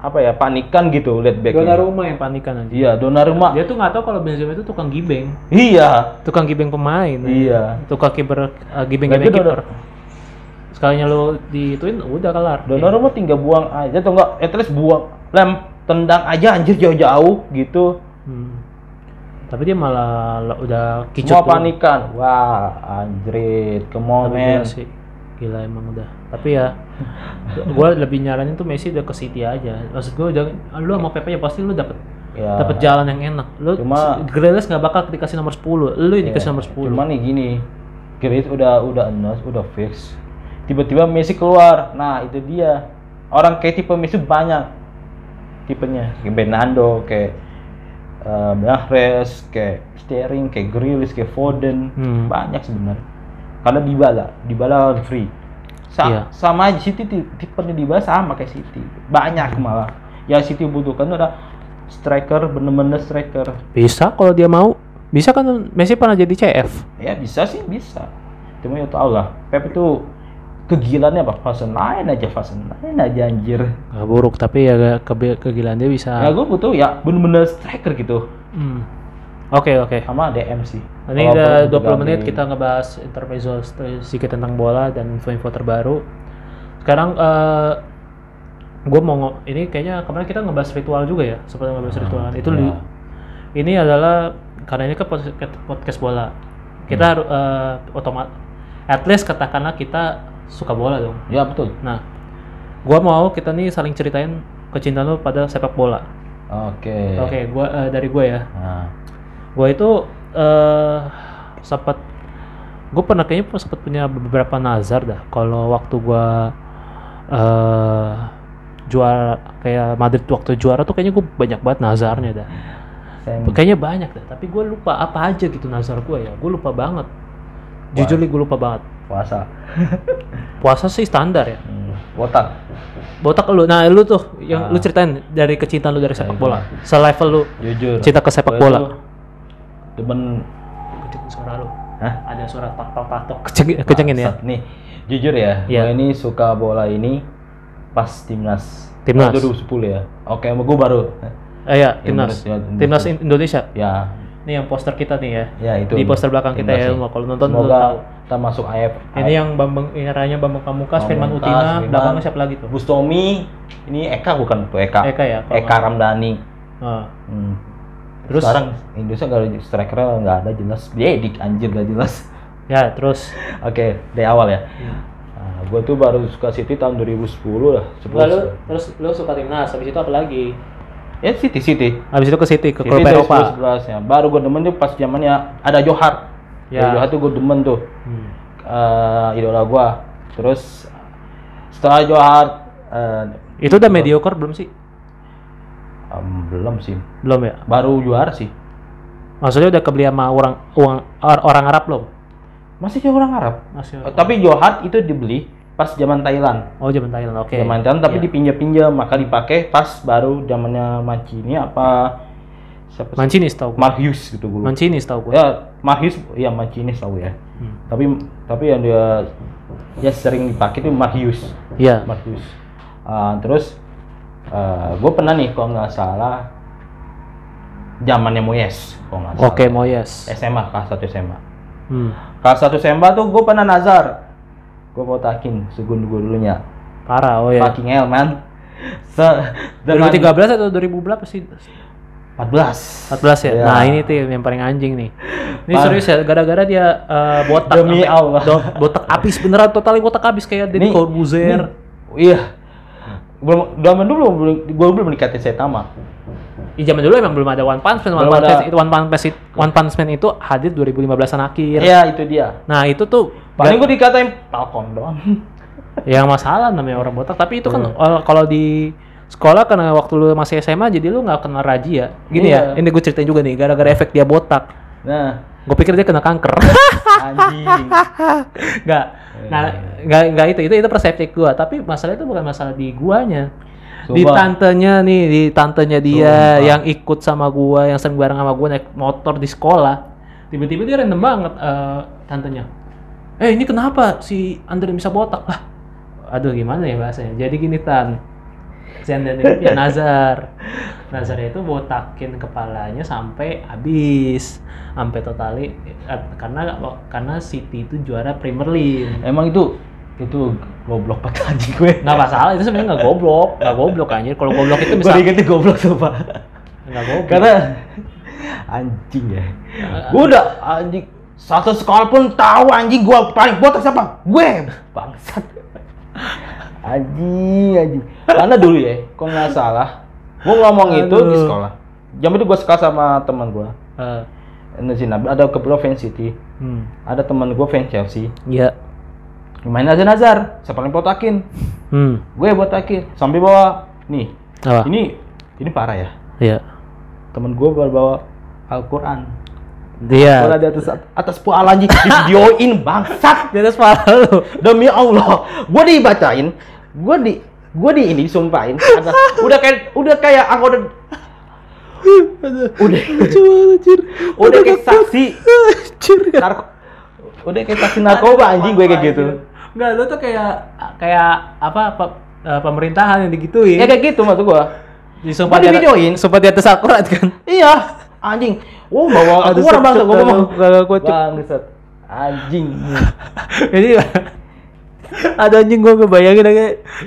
Speaker 2: apa ya panikan gitu lihat back
Speaker 1: rumah yang panikan anjir
Speaker 2: iya Donnarumma
Speaker 1: dia tuh nggak tahu kalau Benzema itu tukang gibeng
Speaker 2: iya
Speaker 1: tukang gibeng pemain
Speaker 2: Iya.
Speaker 1: tukang kiper uh, gibeng
Speaker 2: Tapi
Speaker 1: gibeng
Speaker 2: Donnarumma-
Speaker 1: kiper sekalinya lo dituin udah kelar
Speaker 2: Donnarumma tinggal buang aja atau enggak at least buang lem tendang aja anjir jauh-jauh gitu.
Speaker 1: Hmm. tapi dia malah lo- udah
Speaker 2: Semua
Speaker 1: kicau
Speaker 2: panikan. Wah, anjrit, come on
Speaker 1: Tapi gila
Speaker 2: man.
Speaker 1: sih. Gila emang udah. Tapi ya gue lebih nyaranin tuh Messi udah ke City aja. Maksud gue udah lu sama Pepe ya pasti lu dapet
Speaker 2: Ya.
Speaker 1: dapet jalan yang enak. Lu
Speaker 2: Cuma-
Speaker 1: Grealish nggak bakal dikasih nomor 10. Lu yang
Speaker 2: ya.
Speaker 1: dikasih nomor 10.
Speaker 2: Cuman nih gini, Grealish udah udah announce, udah fix. Tiba-tiba Messi keluar. Nah, itu dia. Orang kayak tipe Messi banyak tipenya. Kayak Bernardo, kayak eh Mahrez, kayak Sterling, kayak Grealish, kayak Foden.
Speaker 1: Hmm.
Speaker 2: banyak sebenarnya karena Dybala Dybala free Sa-
Speaker 1: Iya.
Speaker 2: sama aja City ti- tipenya Dybala sama kayak City banyak malah yang City butuhkan itu ada striker bener-bener striker
Speaker 1: Bisa kalau dia mau. Bisa kan Messi pernah jadi CF.
Speaker 2: ya bisa sih bisa cuma ya tau lah Pep itu kegilannya apa fase lain aja fase lain aja anjir
Speaker 1: Gak buruk tapi ya ke kegilaan dia
Speaker 2: ya
Speaker 1: bisa.
Speaker 2: gue butuh ya bener-bener striker gitu
Speaker 1: Hmm. Oke oke.
Speaker 2: sama DM sih
Speaker 1: Ini
Speaker 2: Kalau
Speaker 1: udah
Speaker 2: perlu
Speaker 1: 20 menit
Speaker 2: diganti.
Speaker 1: kita ngebahas intermezzo sedikit tentang bola dan info-info terbaru. Sekarang eh gue mau ngo- ini kayaknya kemarin kita ngebahas ritual juga ya, seperti ngebahas ritual. Itu
Speaker 2: iya.
Speaker 1: li- ini adalah karena ini ke pod- ke podcast bola. Kita
Speaker 2: Hmm.
Speaker 1: harus otomatis at least katakanlah kita suka bola dong.
Speaker 2: ya betul
Speaker 1: Nah, gua mau kita nih saling ceritain kecintaan lu pada sepak bola.
Speaker 2: oke
Speaker 1: Oke, gua eh, dari gua ya.
Speaker 2: nah
Speaker 1: Gua itu eh sempat gua pernah kayaknya sempat punya beberapa nazar dah kalau waktu gua eh juara kayak Madrid waktu juara tuh kayaknya gua banyak banget nazarnya dah.
Speaker 2: saya
Speaker 1: Kayaknya banyak dah, tapi gua lupa apa aja gitu nazar gua ya. Gua lupa banget. Jujur nih gua lupa banget.
Speaker 2: puasa
Speaker 1: Puasa sih standar ya.
Speaker 2: Hmm, botak
Speaker 1: Botak lu. Nah, lu tuh yang
Speaker 2: Ah.
Speaker 1: lu ceritain dari kecintaan lu dari sepak
Speaker 2: Dari
Speaker 1: bola. Selevel lu
Speaker 2: jujur
Speaker 1: cinta ke sepak
Speaker 2: Gua
Speaker 1: bola.
Speaker 2: tuh demen
Speaker 1: Kencengin suara lu.
Speaker 2: Hah?
Speaker 1: Ada suara tak tak tak tok. Kenceng- kencengin ya.
Speaker 2: Bangsat. Nih, jujur ya,
Speaker 1: Iya.
Speaker 2: gua ini suka bola ini pas timnas.
Speaker 1: Timnas.
Speaker 2: 2010 ya. Oke, emang gua baru.
Speaker 1: Eh, ya, timnas.
Speaker 2: Iya, bener.
Speaker 1: Timnas In- Indonesia.
Speaker 2: Ya,
Speaker 1: Nih yang poster kita nih ya.
Speaker 2: ya itu.
Speaker 1: Di poster belakang kita
Speaker 2: Timnas
Speaker 1: ya.
Speaker 2: sih.
Speaker 1: Mau kalau nonton lu
Speaker 2: Semoga
Speaker 1: tahu.
Speaker 2: kita masuk AF.
Speaker 1: Ini ya? yang Bambang ini rayanya Bambang Pamungkas, Firman
Speaker 2: Pamungkas,
Speaker 1: Utina,
Speaker 2: Firman.
Speaker 1: belakangnya siapa lagi tuh?
Speaker 2: Bustomi, ini Eka bukan tuh E Eka.
Speaker 1: Eka ya. kalau
Speaker 2: Eka
Speaker 1: nggak-
Speaker 2: Ramdhani.
Speaker 1: Ah.
Speaker 2: Hmm.
Speaker 1: Terus?
Speaker 2: sekarang Indonesia nggak ada striker nggak ada jelas. Yedik anjir nggak jelas.
Speaker 1: Ya, terus.
Speaker 2: Oke, dari awal ya.
Speaker 1: Iya.
Speaker 2: Nah, gue tuh baru suka City tahun 2010 lah. 10.
Speaker 1: Lalu terus lu suka timnas, habis itu apa lagi?
Speaker 2: Ya City City.
Speaker 1: Habis itu ke City, ke
Speaker 2: Jadi
Speaker 1: klub
Speaker 2: dari
Speaker 1: Eropa.
Speaker 2: 2011 ya. Baru gue demen tuh pas zamannya ada Johar.
Speaker 1: Ya.
Speaker 2: Ya. Johar tuh gue demen tuh
Speaker 1: Hmm.
Speaker 2: eh idola gue. Terus setelah Johar eh,
Speaker 1: Itu udah mediocre belum sih?
Speaker 2: em, belum sih.
Speaker 1: Belum ya?
Speaker 2: Baru Johar sih.
Speaker 1: Maksudnya udah kebeli sama orang uang or- orang Arab belum?
Speaker 2: Masih kayak orang Arab.
Speaker 1: Masih.
Speaker 2: Eh, Tapi Johar itu dibeli pas zaman Thailand.
Speaker 1: Oh, zaman Thailand. Oke.
Speaker 2: Zaman Thailand tapi
Speaker 1: Iya.
Speaker 2: dipinjam-pinjam maka dipakai pas baru zamannya Mancini apa siapa sih?
Speaker 1: Mancini tahu gua.
Speaker 2: Marhius gitu gue.
Speaker 1: Mancini tahu gua.
Speaker 2: Ya Marhius ya Mancini tahu ya.
Speaker 1: Hmm.
Speaker 2: Tapi tapi yang dia ya sering dipakai tuh Marhius.
Speaker 1: Iya.
Speaker 2: Markus. Ah, terus gue pernah nih kalau nggak salah zamannya Moyes kalau nggak salah.
Speaker 1: Oke, Moyes.
Speaker 2: SMA kelas 1 SMA.
Speaker 1: Hmm.
Speaker 2: Kelas 1 SMA tuh gue pernah nazar. Gue botakin segun gue dulunya.
Speaker 1: Parah, oh ya.
Speaker 2: Fucking hell man. Se dengan
Speaker 1: 2013 atau 2000 berapa sih?
Speaker 2: 14.
Speaker 1: 14 ya.
Speaker 2: Iya.
Speaker 1: Nah, ini tuh yang paling anjing nih. Ini
Speaker 2: Parah.
Speaker 1: serius ya, gara-gara dia eh, botak
Speaker 2: Demi
Speaker 1: sampai-
Speaker 2: Allah.
Speaker 1: do- botak abis beneran totalnya botak abis kayak Deddy
Speaker 2: Nih,
Speaker 1: Corbuzier.
Speaker 2: Iya. Belum zaman dulu belum gue belum nikatin Setama.
Speaker 1: Di zaman dulu emang belum ada One Punch Man. One
Speaker 2: Belum
Speaker 1: Punch
Speaker 2: ada.
Speaker 1: Man itu One Punch Man itu, One Punch Man itu hadir 2015-an akhir.
Speaker 2: Iya, itu dia.
Speaker 1: Nah, itu tuh
Speaker 2: Paling gue dikatain Falcon doang.
Speaker 1: yang masalah namanya orang botak tapi itu kan
Speaker 2: Iya.
Speaker 1: eh, kalau di sekolah karena waktu lu masih SMA jadi lu nggak kena razia gini ya
Speaker 2: Iya.
Speaker 1: ini gue ceritain juga nih gara-gara efek dia botak
Speaker 2: Nah,
Speaker 1: gue pikir dia kena kanker
Speaker 2: anjing.
Speaker 1: nggak nah nggak nggak itu itu itu persepsi gue tapi masalah itu bukan masalah di guanya di
Speaker 2: Sumpah.
Speaker 1: tantenya nih di tantenya dia
Speaker 2: Sumpah.
Speaker 1: yang ikut sama gua yang sering bareng sama gua naik motor di sekolah tiba-tiba dia random banget eh, tantenya eh ini kenapa si Andre bisa botak lah aduh gimana ya bahasanya jadi gini tan si Andre ini punya nazar nazar itu botakin kepalanya sampai habis sampai totali eh, karena karena City itu juara Premier League
Speaker 2: Emang itu itu goblok banget anjing gue.
Speaker 1: nggak masalah itu sebenarnya nggak goblok nggak goblok anjir kalau goblok itu
Speaker 2: Gue
Speaker 1: bisa
Speaker 2: diingetin goblok sumpah.
Speaker 1: nggak goblok
Speaker 2: Karena anjing ya. Gue udah anjing satu sekolah pun tahu anjing gue paling botak siapa? Gue bangsat. Anjing anjing. Karena dulu ya, kok nggak salah. Gue ngomong itu di
Speaker 1: Aduh.
Speaker 2: sekolah. Jam itu gue suka sama teman gue.
Speaker 1: Eh,
Speaker 2: Ada kebetulan fans City.
Speaker 1: hmm.
Speaker 2: Ada teman gue fans Chelsea.
Speaker 1: Iya.
Speaker 2: Main aja Nazar. Siapa yang botakin?
Speaker 1: Hmm.
Speaker 2: gue buat akhir sambil bawa nih
Speaker 1: Apa?
Speaker 2: ini ini parah ya
Speaker 1: Iya.
Speaker 2: temen gue baru bawa Al-Quran Quran
Speaker 1: Dia.
Speaker 2: di atas atas pual anjing di videoin bangsat
Speaker 1: Di atas kepala lu.
Speaker 2: demi Allah gue dibacain gue di Gue di ini disumpahin. Atas, udah kayak udah kayak anggota udah
Speaker 1: Lucu banget, anjir.
Speaker 2: udah kayak saksi
Speaker 1: Anjir.
Speaker 2: narko udah kayak saksi narkoba anjing gue kayak gitu.
Speaker 1: Enggak, lu tuh kayak kayak apa pe- eh, pemerintahan yang digituin.
Speaker 2: Ya kayak gitu maksud gue.
Speaker 1: Disumpah
Speaker 2: Gua
Speaker 1: di atas-
Speaker 2: divideoin.
Speaker 1: sumpah di atas akurat kan.
Speaker 2: Iya, anjing. Wow, bawa aku orang bangsa gue ngomong.
Speaker 1: Kalau gua cep-
Speaker 2: Bangsat. Anjing.
Speaker 1: Jadi ada anjing gua ngebayangin lagi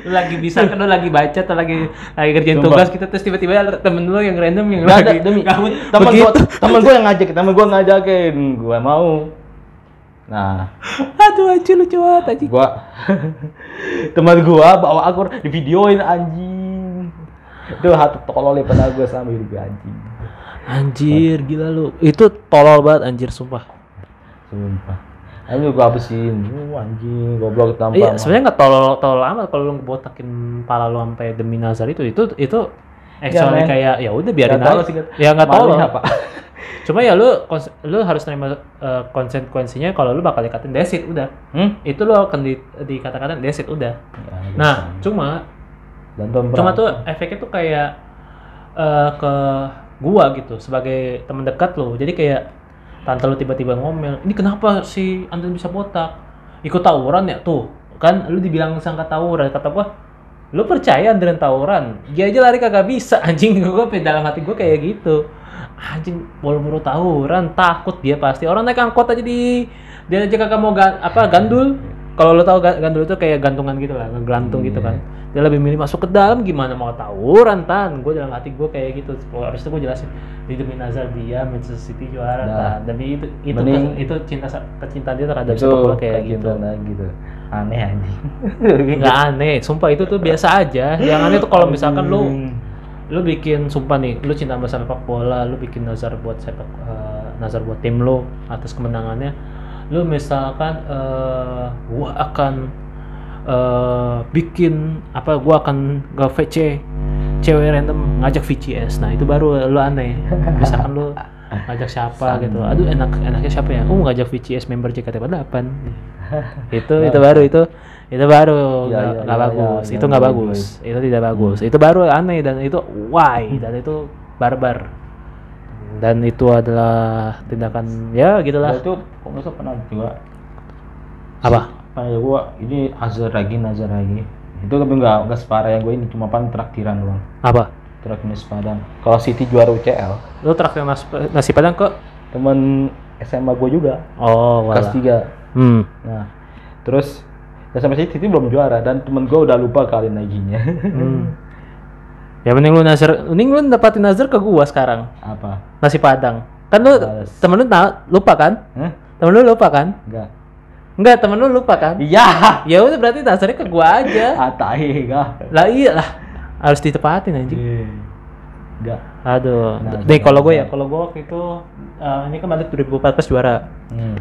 Speaker 1: lagi bisa kan lu lagi baca atau lagi lagi kerjain
Speaker 2: Sumpah.
Speaker 1: tugas gitu terus tiba-tiba ada temen lu yang random yang
Speaker 2: Gak ada
Speaker 1: lagi
Speaker 2: demi
Speaker 1: kamu
Speaker 2: temen gue
Speaker 1: begitu.
Speaker 2: temen gue yang ngajak temen gue ngajakin gue mau nah
Speaker 1: Aduh anjir lucu banget anjing.
Speaker 2: gue temen gue bawa aku di videoin anjing itu hati tolol ya pada gue sama hidup gue, anjing
Speaker 1: Anjir gila lu. Itu tolol banget anjir sumpah.
Speaker 2: sumpah Ayo gue habisin, Uh, anjing goblok tanpa.
Speaker 1: Iya, sebenarnya nggak tolol tolol amat kalau lu ngebotakin pala lu sampai demi nazar itu itu itu actually
Speaker 2: men.
Speaker 1: kayak ya udah biarin
Speaker 2: Nggak tolol
Speaker 1: aja.
Speaker 2: sih, nggak-
Speaker 1: ya nggak
Speaker 2: Malu
Speaker 1: tolol.
Speaker 2: apa?
Speaker 1: Cuma ya lu kons- lu harus terima eh, konsekuensinya kalau lu bakal dikatain desit udah.
Speaker 2: Hmm?
Speaker 1: Itu lu akan di, dikata-katain desit udah.
Speaker 2: Hmm.
Speaker 1: Nah, cuma
Speaker 2: dan tomprang.
Speaker 1: cuma tuh efeknya tuh kayak eh, ke gua gitu sebagai teman dekat lo. Jadi kayak tante lu tiba-tiba ngomel, "Ini kenapa si Anton bisa botak? Ikut tawuran ya tuh." Kan lu dibilang sangka tawuran, kata gua, "Lu percaya Andren tawuran? Dia aja lari kagak bisa." Anjing gua pe- dalam hati gua kayak gitu. Anjing buru-buru tawuran, takut dia pasti. Orang naik angkot aja di dia aja kagak mau gan- apa gandul. Kalau lu tahu ga- gandul itu kayak gantungan gitu lah, ngegelantung gitu kan dia lebih milih masuk ke dalam gimana mau tawuran tan gue dalam hati gue kayak gitu habis itu gue jelasin di demi nazar dia Manchester City juara
Speaker 2: Nah.
Speaker 1: tan demi itu itu
Speaker 2: Mending-
Speaker 1: itu cinta sa- kecintaan dia terhadap
Speaker 2: itu
Speaker 1: sepak bola kayak gitu
Speaker 2: kecintaan lagi gitu. Aneh anjing.
Speaker 1: nggak aneh sumpah itu tuh biasa aja yang aneh tuh kalau misalkan lu
Speaker 2: Hmm.
Speaker 1: lu bikin sumpah nih lu cinta sama sepak bola lu bikin nazar buat sepak eh, nazar buat tim lu atas kemenangannya lu misalkan eh, gua akan eh, bikin apa gua akan nge VC cewek random ngajak VCS nah itu baru lu aneh misalkan lu ngajak siapa gitu aduh enak enaknya siapa ya oh ngajak VCS member JKT48 itu itu baru itu itu baru
Speaker 2: Iya,
Speaker 1: nggak
Speaker 2: iya,
Speaker 1: nggak
Speaker 2: iya,
Speaker 1: bagus
Speaker 2: iya,
Speaker 1: itu
Speaker 2: iya,
Speaker 1: nggak
Speaker 2: iya,
Speaker 1: bagus itu tidak bagus itu baru aneh dan itu why dan itu barbar dan itu adalah tindakan ya
Speaker 2: Gua
Speaker 1: gitulah
Speaker 2: itu kok bisa pernah juga
Speaker 1: apa
Speaker 2: pernah ya gua ini azar lagi nazar lagi itu tapi nggak nggak separah yang gue ini cuma pan traktiran doang
Speaker 1: apa
Speaker 2: traktir nasi padang kalau City juara UCL
Speaker 1: lu traktir nasi, nasi padang kok
Speaker 2: temen SMA gue juga
Speaker 1: oh
Speaker 2: kelas
Speaker 1: wala
Speaker 2: tiga
Speaker 1: hmm
Speaker 2: nah terus ya sampai City itu belum juara dan temen gue udah lupa kali naginya
Speaker 1: hmm. ya mending lu nazar mending lu dapatin nazar ke gua sekarang
Speaker 2: apa
Speaker 1: nasi padang kan lu
Speaker 2: Males.
Speaker 1: temen lu tahu lupa kan
Speaker 2: Hah?
Speaker 1: temen lu lupa kan
Speaker 2: enggak
Speaker 1: enggak temen lu lupa kan
Speaker 2: iya Ah,
Speaker 1: ya udah berarti nazarnya ke gua aja
Speaker 2: atai enggak
Speaker 1: lah iya lah harus ditepatin anjing
Speaker 2: enggak
Speaker 1: Aduh,
Speaker 2: Nah,
Speaker 1: nih
Speaker 2: jangan-
Speaker 1: kalau gue ya,
Speaker 2: jangan.
Speaker 1: kalau gue waktu itu eh, ini kan Madrid 2014 juara.
Speaker 2: hmm.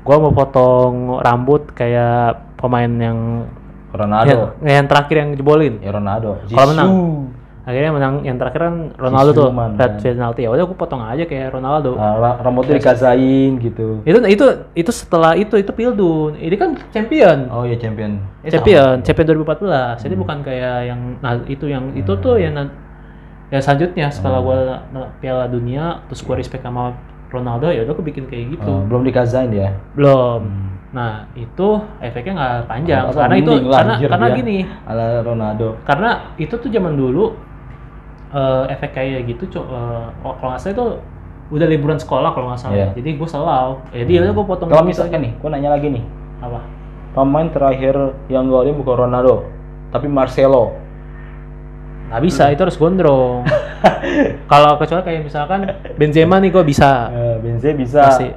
Speaker 1: Gue mau potong rambut kayak pemain yang
Speaker 2: Ronaldo
Speaker 1: yang, yang terakhir yang jebolin.
Speaker 2: ya, Ronaldo
Speaker 1: Kalau menang.
Speaker 2: Zizou.
Speaker 1: Akhirnya menang yang terakhir kan Ronaldo tuh,
Speaker 2: Siluman,
Speaker 1: red
Speaker 2: kan.
Speaker 1: penalti. Ya udah gue potong aja kayak Ronaldo.
Speaker 2: Ah, ra- rambutnya dikazain gitu
Speaker 1: Itu itu itu setelah itu itu Pildun. Ini kan champion.
Speaker 2: oh Hmm. ya champion Eh,
Speaker 1: champion, champion 2014. Jadi bukan kayak yang nah, itu yang itu
Speaker 2: Hmm.
Speaker 1: tuh yang nan- yang selanjutnya setelah gue Piala Dunia terus gue respect sama Ronaldo ya udah gue bikin kayak gitu.
Speaker 2: Iya. Oh, belum dikazain ya?
Speaker 1: belum nah itu efeknya nggak panjang
Speaker 2: Apa
Speaker 1: karena itu
Speaker 2: mending lah,
Speaker 1: karena
Speaker 2: anjir, ya.
Speaker 1: karena
Speaker 2: dia.
Speaker 1: gini
Speaker 2: Ala Ronaldo.
Speaker 1: karena itu tuh zaman dulu eh, efek kayak gitu cu- eh, oh, kalau nggak salah itu udah liburan sekolah kalau nggak salah
Speaker 2: Iya. Hmm.
Speaker 1: jadi Ya, gue selalu jadi udah gue potong
Speaker 2: Kalau
Speaker 1: rambut
Speaker 2: misalkan
Speaker 1: aja.
Speaker 2: nih, gua nanya lagi nih.
Speaker 1: apa
Speaker 2: Pemain terakhir yang golin bukan Ronaldo, tapi Marcelo.
Speaker 1: nggak bisa
Speaker 2: Hmm.
Speaker 1: itu harus gondrong kalau kecuali kayak misalkan Benzema nih gue bisa
Speaker 2: Eh, Benzema bisa,
Speaker 1: pasti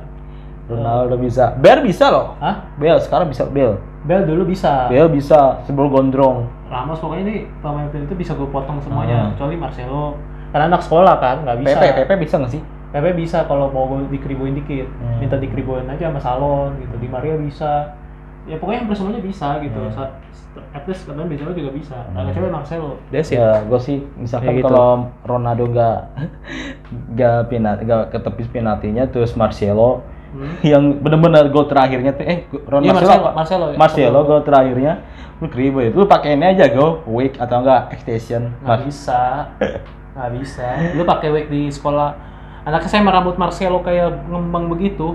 Speaker 2: Ronaldo bisa. Bel bisa loh.
Speaker 1: ah
Speaker 2: Bel sekarang bisa Bel.
Speaker 1: Bel dulu bisa
Speaker 2: Bel bisa sebelum gondrong.
Speaker 1: Ramos pokoknya nih pemain pemain itu bisa gue potong semuanya
Speaker 2: Ah.
Speaker 1: kecuali Marcelo karena anak sekolah kan nggak bisa
Speaker 2: Pepe, Pepe bisa nggak sih?
Speaker 1: Pepe bisa kalau mau gua dikeribuin dikit,
Speaker 2: Hmm.
Speaker 1: minta dikeribuin aja sama Salon gitu. Di Maria bisa. Ya pokoknya hampir semuanya bisa gitu.
Speaker 2: Hmm.
Speaker 1: Sa- st- At least kadang Benzema juga bisa. Nah, kecuali Marcelo. Des
Speaker 2: Ya, gue sih misalkan
Speaker 1: Kayak gitu.
Speaker 2: kalau Ronaldo nggak nggak penat nggak ketepis penaltinya terus Marcelo
Speaker 1: Hmm.
Speaker 2: yang bener-bener gol terakhirnya tuh eh Ron
Speaker 1: Iya,
Speaker 2: Marcelo,
Speaker 1: Marcelo- Marcelo ya?
Speaker 2: Marcelo gol terakhirnya lu kribo itu lu pakai ini aja go wake atau enggak extension
Speaker 1: nggak bisa nggak bisa lu pakai wig di sekolah anaknya saya merambut Marcelo kayak ngembang begitu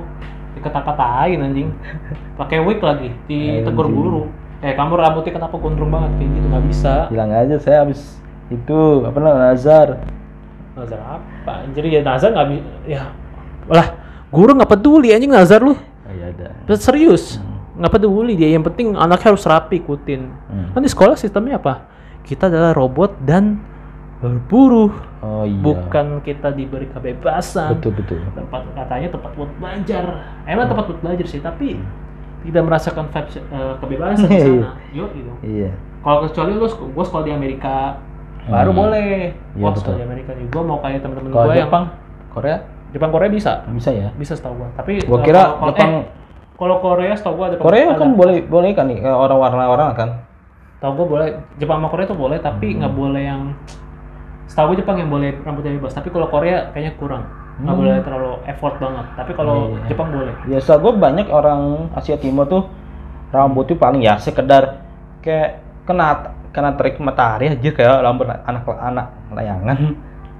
Speaker 1: dikata-katain anjing pakai wig lagi ditegur
Speaker 2: Anjing.
Speaker 1: guru eh kamu rambutnya kenapa gondrong banget kayak gitu nggak bisa
Speaker 2: bilang aja saya habis itu apa namanya Nazar
Speaker 1: Nazar apa jadi ya Nazar nggak bisa ya lah guru nggak peduli anjing Nazar lu
Speaker 2: oh, iya ada
Speaker 1: serius nggak peduli dia yang penting anaknya harus rapi ikutin
Speaker 2: Hmm.
Speaker 1: kan di sekolah sistemnya apa kita adalah robot dan buruh
Speaker 2: oh iya
Speaker 1: bukan kita diberi kebebasan
Speaker 2: betul betul
Speaker 1: tempat katanya tempat buat belajar emang tempat buat belajar sih tapi tidak merasakan vibes, eh, kebebasan di sana yo gitu
Speaker 2: iya
Speaker 1: kalau kecuali lu gue sekolah di Amerika baru
Speaker 2: Hmm.
Speaker 1: boleh
Speaker 2: Iya,
Speaker 1: Wah, sekolah
Speaker 2: betul.
Speaker 1: di Amerika nih gue mau kayak temen-temen
Speaker 2: kalau
Speaker 1: gue yang
Speaker 2: Jepang Korea
Speaker 1: Jepang Korea bisa
Speaker 2: bisa ya
Speaker 1: bisa setahu gue tapi
Speaker 2: gua
Speaker 1: eh,
Speaker 2: kira
Speaker 1: kalau- kalau-
Speaker 2: Jepang
Speaker 1: eh, kalau Korea setahu gue ada
Speaker 2: Korea
Speaker 1: ada-
Speaker 2: kan boleh boleh kan nih eh, orang warna-warna kan
Speaker 1: Tahu gue boleh Jepang sama Korea tuh boleh tapi nggak
Speaker 2: Hmm.
Speaker 1: boleh yang setahu gue Jepang yang boleh rambutnya bebas tapi kalau Korea kayaknya kurang nggak boleh terlalu effort banget tapi kalau
Speaker 2: Hmm. Iya, iya.
Speaker 1: Jepang boleh
Speaker 2: biasa gue banyak orang Asia Timur tuh rambutnya paling ya sekedar kayak kena kena terik matahari aja kayak rambut anak anak layangan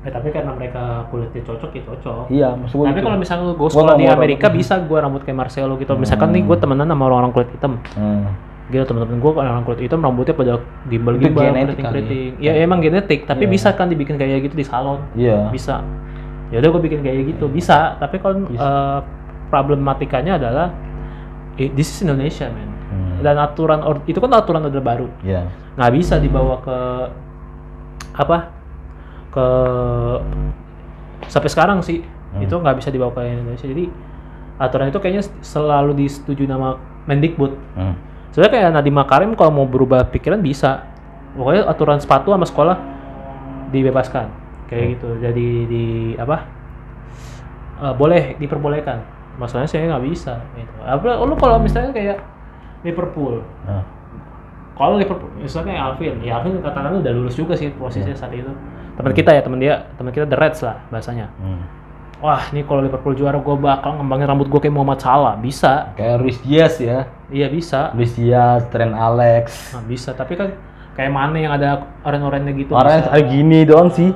Speaker 1: Eh, tapi karena mereka kulitnya cocok ya cocok
Speaker 2: iya maksud gue
Speaker 1: tapi
Speaker 2: gitu.
Speaker 1: kalau misalnya gue
Speaker 2: Gua
Speaker 1: sekolah
Speaker 2: nggak
Speaker 1: di
Speaker 2: mau
Speaker 1: Amerika
Speaker 2: rambut.
Speaker 1: bisa gue rambut kayak Marcelo gitu misalkan nih gue temenan sama orang-orang kulit hitam
Speaker 2: Hmm.
Speaker 1: gitu temen-temen gue orang kulit hitam rambutnya pada gimbal
Speaker 2: Itu
Speaker 1: gimbal
Speaker 2: genetik
Speaker 1: keriting keriting ya emang genetik tapi bisa kan dibikin kayak gitu di salon
Speaker 2: iya
Speaker 1: bisa ya udah gue bikin kayak gitu bisa tapi kalau eh, problematikanya adalah eh, this is Indonesia men
Speaker 2: Hmm.
Speaker 1: dan aturan or- itu kan aturan order baru
Speaker 2: iya
Speaker 1: nggak bisa dibawa ke apa ke sampai sekarang sih itu nggak bisa dibawa ke Indonesia jadi aturan itu kayaknya selalu disetujui nama Mendikbud
Speaker 2: Hmm.
Speaker 1: sebenarnya kayak Nadiem Makarim kalau mau berubah pikiran bisa pokoknya aturan sepatu sama sekolah dibebaskan kayak gitu jadi di apa eh, boleh diperbolehkan masalahnya saya nggak bisa gitu apa lu kalau misalnya kayak Liverpool
Speaker 2: Nah.
Speaker 1: kalau Liverpool misalnya kayak Alvin ya Alvin katakanlah udah lulus juga sih posisinya saat itu teman kita ya teman dia teman kita The Reds lah bahasanya
Speaker 2: Hmm.
Speaker 1: wah ini kalau Liverpool juara gue bakal ngembangin rambut gue kayak Muhammad Salah bisa
Speaker 2: kayak Luis Diaz ya
Speaker 1: iya bisa
Speaker 2: Luis Diaz Trent Alex
Speaker 1: Nah, bisa, tapi kan kayak mana yang ada oren-orennya gitu.
Speaker 2: orang
Speaker 1: bisa. Iya.
Speaker 2: ada gini doang sih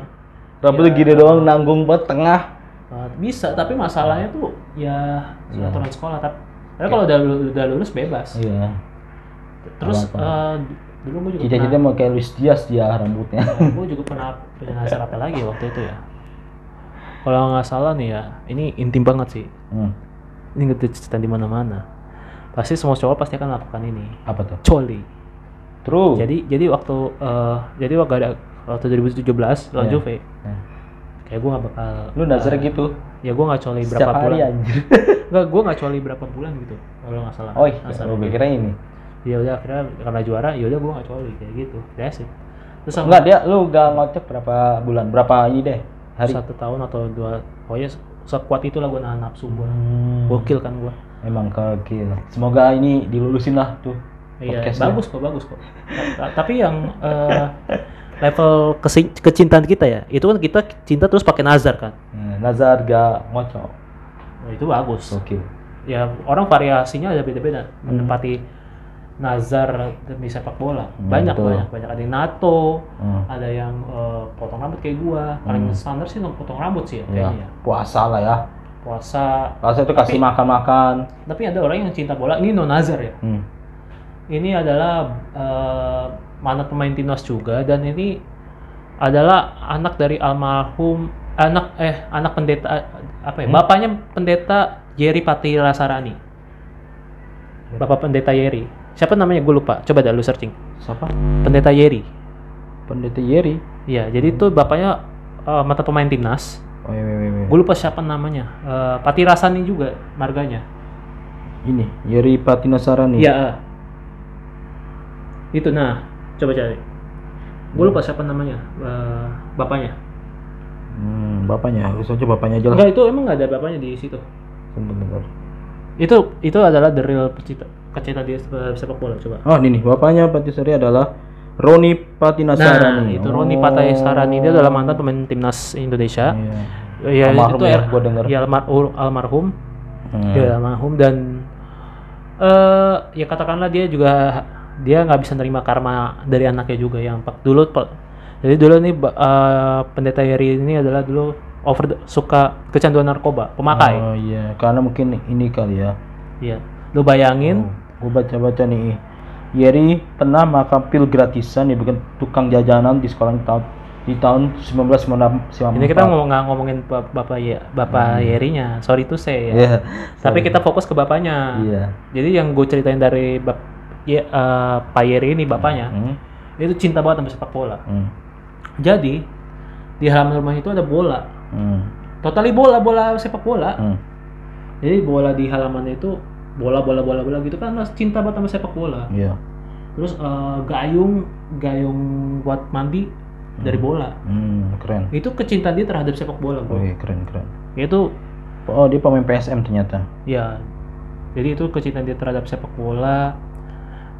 Speaker 2: rambutnya gini doang nanggung banget tengah
Speaker 1: Nah, bisa, tapi masalahnya tuh ya aturan sekolah. Tapi tapi kalau udah lu- udah lulus bebas.
Speaker 2: iya
Speaker 1: Terus
Speaker 2: Apa-apa.
Speaker 1: eh, dulu gue juga
Speaker 2: cita-cita mau kayak Luis Diaz dia rambutnya
Speaker 1: pernah, gue juga pernah punya nazar apa lagi waktu itu ya. Kalau nggak salah nih ya, ini intim banget sih.
Speaker 2: Hmm.
Speaker 1: Ini cerita di mana-mana. Pasti semua cowok pasti akan lakukan ini.
Speaker 2: apa tuh
Speaker 1: Coli.
Speaker 2: true
Speaker 1: Jadi jadi waktu eh, jadi waktu ada waktu 2017 lawan
Speaker 2: Iya.
Speaker 1: Juve.
Speaker 2: Iya.
Speaker 1: Kayak gue nggak bakal
Speaker 2: lu nazar gitu
Speaker 1: ya gue nggak coli berapa
Speaker 2: setiap hari
Speaker 1: bulan
Speaker 2: anjir
Speaker 1: nggak gue nggak coli berapa bulan gitu kalau nggak salah
Speaker 2: Oh, iya,
Speaker 1: Asal.
Speaker 2: gue kira ini.
Speaker 1: ya udah akhirnya karena juara ya udah gue nggak coli kayak gitu that's it terus sama
Speaker 2: Enggak, dia lu gak ngocek berapa bulan, berapa ini deh hari.
Speaker 1: satu tahun atau dua pokoknya se- sekuat itulah gue nahan nafsu gue
Speaker 2: Hmm,
Speaker 1: gokil kan gue
Speaker 2: Emang kagil. Semoga ini dilulusin lah tuh.
Speaker 1: iya
Speaker 2: podcastnya.
Speaker 1: bagus kok bagus kok Ta- ta- tapi yang eh, level kesi- kecintaan kita ya itu kan kita cinta terus pakai nazar kan
Speaker 2: Nah, Nazar gak ngocok.
Speaker 1: Nah, itu bagus
Speaker 2: Oke.
Speaker 1: ya orang variasinya ada beda-beda
Speaker 2: Hmm.
Speaker 1: menempati nazar demi sepak bola
Speaker 2: Hmm,
Speaker 1: banyak
Speaker 2: betul.
Speaker 1: banyak banyak ada yang nato
Speaker 2: Hmm.
Speaker 1: ada yang eh, potong rambut kayak gua paling standar sih yang potong rambut sih ya,
Speaker 2: Ya,
Speaker 1: kayaknya ya.
Speaker 2: puasa lah ya.
Speaker 1: puasa
Speaker 2: Puasa itu kasih makan-makan.
Speaker 1: tapi ada orang yang cinta bola ini no nazar ya
Speaker 2: Hmm.
Speaker 1: ini adalah eh, mantan pemain timnas juga dan ini adalah anak dari almarhum anak eh anak pendeta apa ya bapaknya pendeta Yeri Patira Sarani bapak pendeta Yeri siapa namanya gue lupa coba dah lu searching
Speaker 2: Siapa?
Speaker 1: pendeta Yeri
Speaker 2: Pendeta Yeri.
Speaker 1: ya jadi itu bapaknya eh, mantan pemain timnas
Speaker 2: Oh, iya, iya, iya, iya.
Speaker 1: gue lupa siapa namanya Eh, Pati Rasani juga marganya
Speaker 2: Ini Yeri Patinasarani.
Speaker 1: iya itu nah coba cari gue lupa siapa namanya eh, bapaknya
Speaker 2: Hmm, bapaknya. Lu saja bapaknya aja lah.
Speaker 1: enggak itu emang nggak ada bapaknya di situ
Speaker 2: Bentar, bentar.
Speaker 1: itu itu adalah the real pecinta pecinta di sep- sepak bola coba
Speaker 2: Oh, ini nih. Bapaknya Patisari adalah Roni Oh.
Speaker 1: nah
Speaker 2: Patinasarani.
Speaker 1: itu Roni Patai Sarani dia adalah mantan pemain timnas Indonesia
Speaker 2: Iya.
Speaker 1: ya
Speaker 2: Almarhum
Speaker 1: itu
Speaker 2: ya,
Speaker 1: er-
Speaker 2: gua denger.
Speaker 1: ya almar- almarhum
Speaker 2: Hmm.
Speaker 1: dia almarhum dan eh ya katakanlah dia juga dia nggak bisa nerima karma dari anaknya juga yang pak dulu Pak- jadi dulu nih ba- eh, pendeta Yeri ini adalah dulu over suka kecanduan narkoba pemakai
Speaker 2: Oh iya, karena mungkin ini kali ya.
Speaker 1: iya lu bayangin
Speaker 2: Gue baca-baca nih. Yeri pernah makan pil gratisan di bikin tukang jajanan di sekolah di tahun di tahun 1994.
Speaker 1: ini kita ngomong nggak ngomongin bap- bapak ya bapak Yerinya sorry tuh saya
Speaker 2: Hmm. Iya.
Speaker 1: tapi
Speaker 2: sorry.
Speaker 1: kita fokus ke bapaknya
Speaker 2: Iya.
Speaker 1: jadi yang gue ceritain dari bap ya, eh, Pak Yeri ini bapaknya
Speaker 2: Hmm,
Speaker 1: dia itu cinta banget sama sepak bola
Speaker 2: hmm,
Speaker 1: jadi di halaman rumah itu ada bola
Speaker 2: hmm,
Speaker 1: totali bola bola sepak bola
Speaker 2: hmm.
Speaker 1: jadi bola di halamannya itu bola bola bola bola gitu kan mas cinta banget sama sepak bola
Speaker 2: Iya.
Speaker 1: terus eh, gayung gayung buat mandi dari bola
Speaker 2: Hmm, Oh, keren.
Speaker 1: itu kecintaan dia terhadap sepak bola bro
Speaker 2: Wih, keren keren.
Speaker 1: itu
Speaker 2: Oh, dia pemain PSM ternyata.
Speaker 1: ya jadi itu kecintaan dia terhadap sepak bola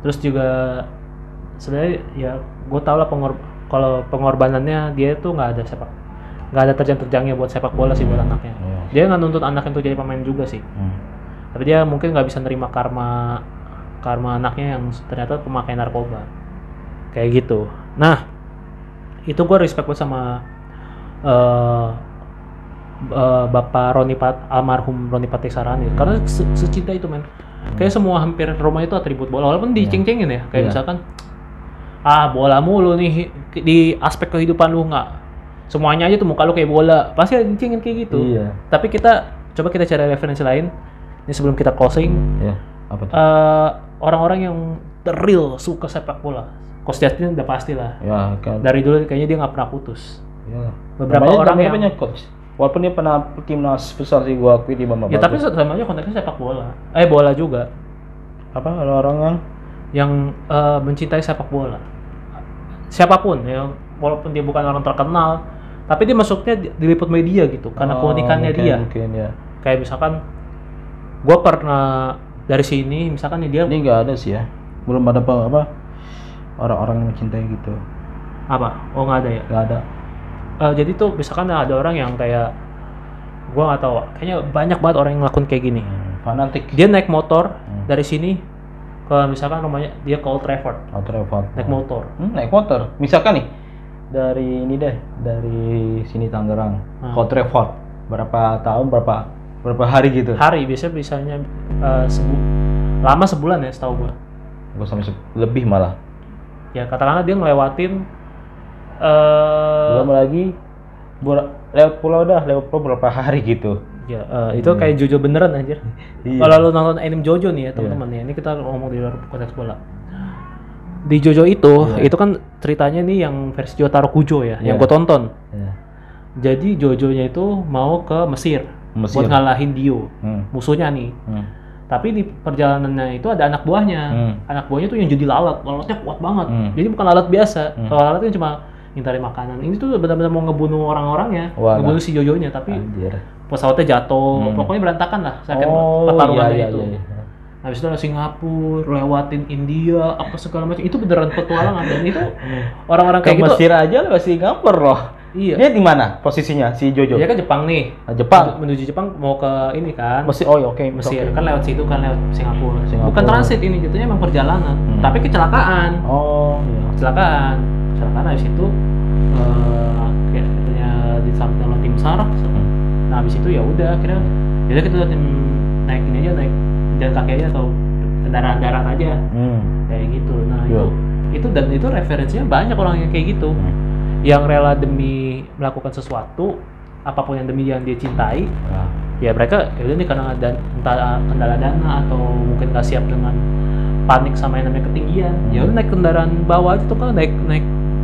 Speaker 1: terus juga sebenarnya ya gue tau lah pengor kalau pengorbanannya dia itu nggak ada sepak nggak ada terjang-terjangnya buat sepak bola sih buat anaknya
Speaker 2: Iya.
Speaker 1: dia nggak nuntut anaknya untuk jadi pemain juga sih
Speaker 2: Hmm.
Speaker 1: tapi dia mungkin nggak bisa nerima karma karma anaknya yang ternyata pemakai narkoba kayak gitu nah itu gue respect banget sama eh, eh, bapak Roni Pat almarhum Roni Patisarani
Speaker 2: Hmm.
Speaker 1: karena se- secinta itu men kayak semua hampir rumah itu atribut bola walaupun diceng-cengin ya kayak
Speaker 2: Iya.
Speaker 1: misalkan ah bola mulu nih di aspek kehidupan lu nggak semuanya aja tuh muka lu kayak bola pasti ada dicengin kayak gitu
Speaker 2: Iya.
Speaker 1: tapi kita coba kita cari referensi lain. Ini sebelum kita closing,
Speaker 2: Iya. Apa tuh?
Speaker 1: eh, orang-orang yang the real suka sepak bola. Coach Justin udah pasti lah.
Speaker 2: ya, kan.
Speaker 1: Dari dulu kayaknya dia nggak pernah putus.
Speaker 2: Ya.
Speaker 1: Beberapa
Speaker 2: Namanya-
Speaker 1: orang
Speaker 2: namanya
Speaker 1: yang
Speaker 2: banyak coach. Walaupun dia pernah timnas futsal sih gua akui di Bambang.
Speaker 1: ya tapi sama aja konteksnya sepak bola. Eh bola juga
Speaker 2: apa orang-orang yang
Speaker 1: yang eh, mencintai sepak bola. Siapapun ya, walaupun dia bukan orang terkenal, tapi dia masuknya di- diliput media gitu karena
Speaker 2: Oh,
Speaker 1: keunikannya
Speaker 2: mungkin-
Speaker 1: dia.
Speaker 2: Mungkin ya.
Speaker 1: Kayak misalkan gua pernah dari sini misalkan nih dia
Speaker 2: Ini nggak ada sih ya. Belum ada apa, apa orang-orang yang mencintai gitu.
Speaker 1: apa? Oh nggak ada ya.
Speaker 2: Nggak ada.
Speaker 1: Eh, jadi tuh misalkan ada orang yang kayak gua nggak tahu kayaknya banyak banget orang yang ngelakuin kayak gini
Speaker 2: Hmm, Fanatik.
Speaker 1: dia naik motor
Speaker 2: Hmm.
Speaker 1: dari sini ke misalkan rumahnya dia ke Old Trafford
Speaker 2: Oh, travel.
Speaker 1: naik motor
Speaker 2: Hmm, naik motor. Misalkan nih dari ini deh, dari sini Tangerang
Speaker 1: Hmm.
Speaker 2: ke Trevor. Berapa tahun, berapa berapa hari gitu.
Speaker 1: hari biasanya bisanya eh, sebu- lama sebulan ya setahu gua
Speaker 2: Gue sampai se- lebih malah.
Speaker 1: ya katakanlah dia ngelewatin eh
Speaker 2: Belum lagi ber- lewat pulau dah, lewat pulau berapa hari gitu.
Speaker 1: ya eh, itu kayak Jojo beneran anjir
Speaker 2: Iya.
Speaker 1: kalau lu nonton anime Jojo nih ya teman-teman ya ini kita ngomong di luar konteks bola di Jojo itu itu kan ceritanya nih yang versi Jotaro Kujo ya yang
Speaker 2: Iya.
Speaker 1: gua tonton
Speaker 2: Ya.
Speaker 1: Jadi Jojonya itu mau ke Mesir,
Speaker 2: Mesir.
Speaker 1: buat ngalahin Dio,
Speaker 2: Hmm.
Speaker 1: musuhnya nih.
Speaker 2: Hmm.
Speaker 1: Tapi di perjalanannya itu ada anak buahnya.
Speaker 2: Hmm.
Speaker 1: Anak buahnya tuh yang jadi lalat, lalatnya kuat banget.
Speaker 2: Hmm.
Speaker 1: Jadi bukan lalat biasa. Kalau lalat kan cuma ngintari makanan. Ini tuh benar-benar mau ngebunuh orang-orangnya,
Speaker 2: Walah.
Speaker 1: ngebunuh si Jojonya. Tapi
Speaker 2: Anjir.
Speaker 1: pesawatnya jatuh,
Speaker 2: Hmm.
Speaker 1: pokoknya berantakan lah sakit
Speaker 2: Oh,
Speaker 1: pertarungannya
Speaker 2: iya, iya,
Speaker 1: itu.
Speaker 2: iya.
Speaker 1: Habis itu ada Singapura, lewatin India, apa segala macam. Itu beneran petualangan dan itu orang-orang Nah,
Speaker 2: Ke
Speaker 1: kayak gitu.
Speaker 2: Mesir aja lah masih Singapura loh.
Speaker 1: Iya.
Speaker 2: Dia di mana posisinya si Jojo?
Speaker 1: Dia kan Jepang nih.
Speaker 2: Nah, Jepang.
Speaker 1: menuju Jepang mau ke ini kan
Speaker 2: Mesir. Oh, iya, oke.
Speaker 1: Mesir
Speaker 2: oke.
Speaker 1: kan lewat situ kan lewat Singapura,
Speaker 2: Singapura.
Speaker 1: bukan transit ini jatuhnya emang perjalanan
Speaker 2: Hmm.
Speaker 1: tapi kecelakaan
Speaker 2: Oh, iya.
Speaker 1: kecelakaan kecelakaan habis itu eh, kayak katanya disamperin sama tim sar
Speaker 2: Hmm.
Speaker 1: nah habis itu ya udah akhirnya jadi kita lihat tim naik ini aja naik jalan kaki aja atau kendaraan darat aja
Speaker 2: Hmm,
Speaker 1: kayak gitu nah
Speaker 2: iya.
Speaker 1: itu itu dan itu referensinya banyak orang yang kayak gitu
Speaker 2: Hmm.
Speaker 1: yang rela demi melakukan sesuatu apapun yang demi yang dia cintai
Speaker 2: Nah,
Speaker 1: ya mereka yaudah nih karena ada entah ah, kendala dana atau mungkin nggak siap dengan panik sama yang namanya ketinggian ya udah naik kendaraan bawah aja tuh kan naik naik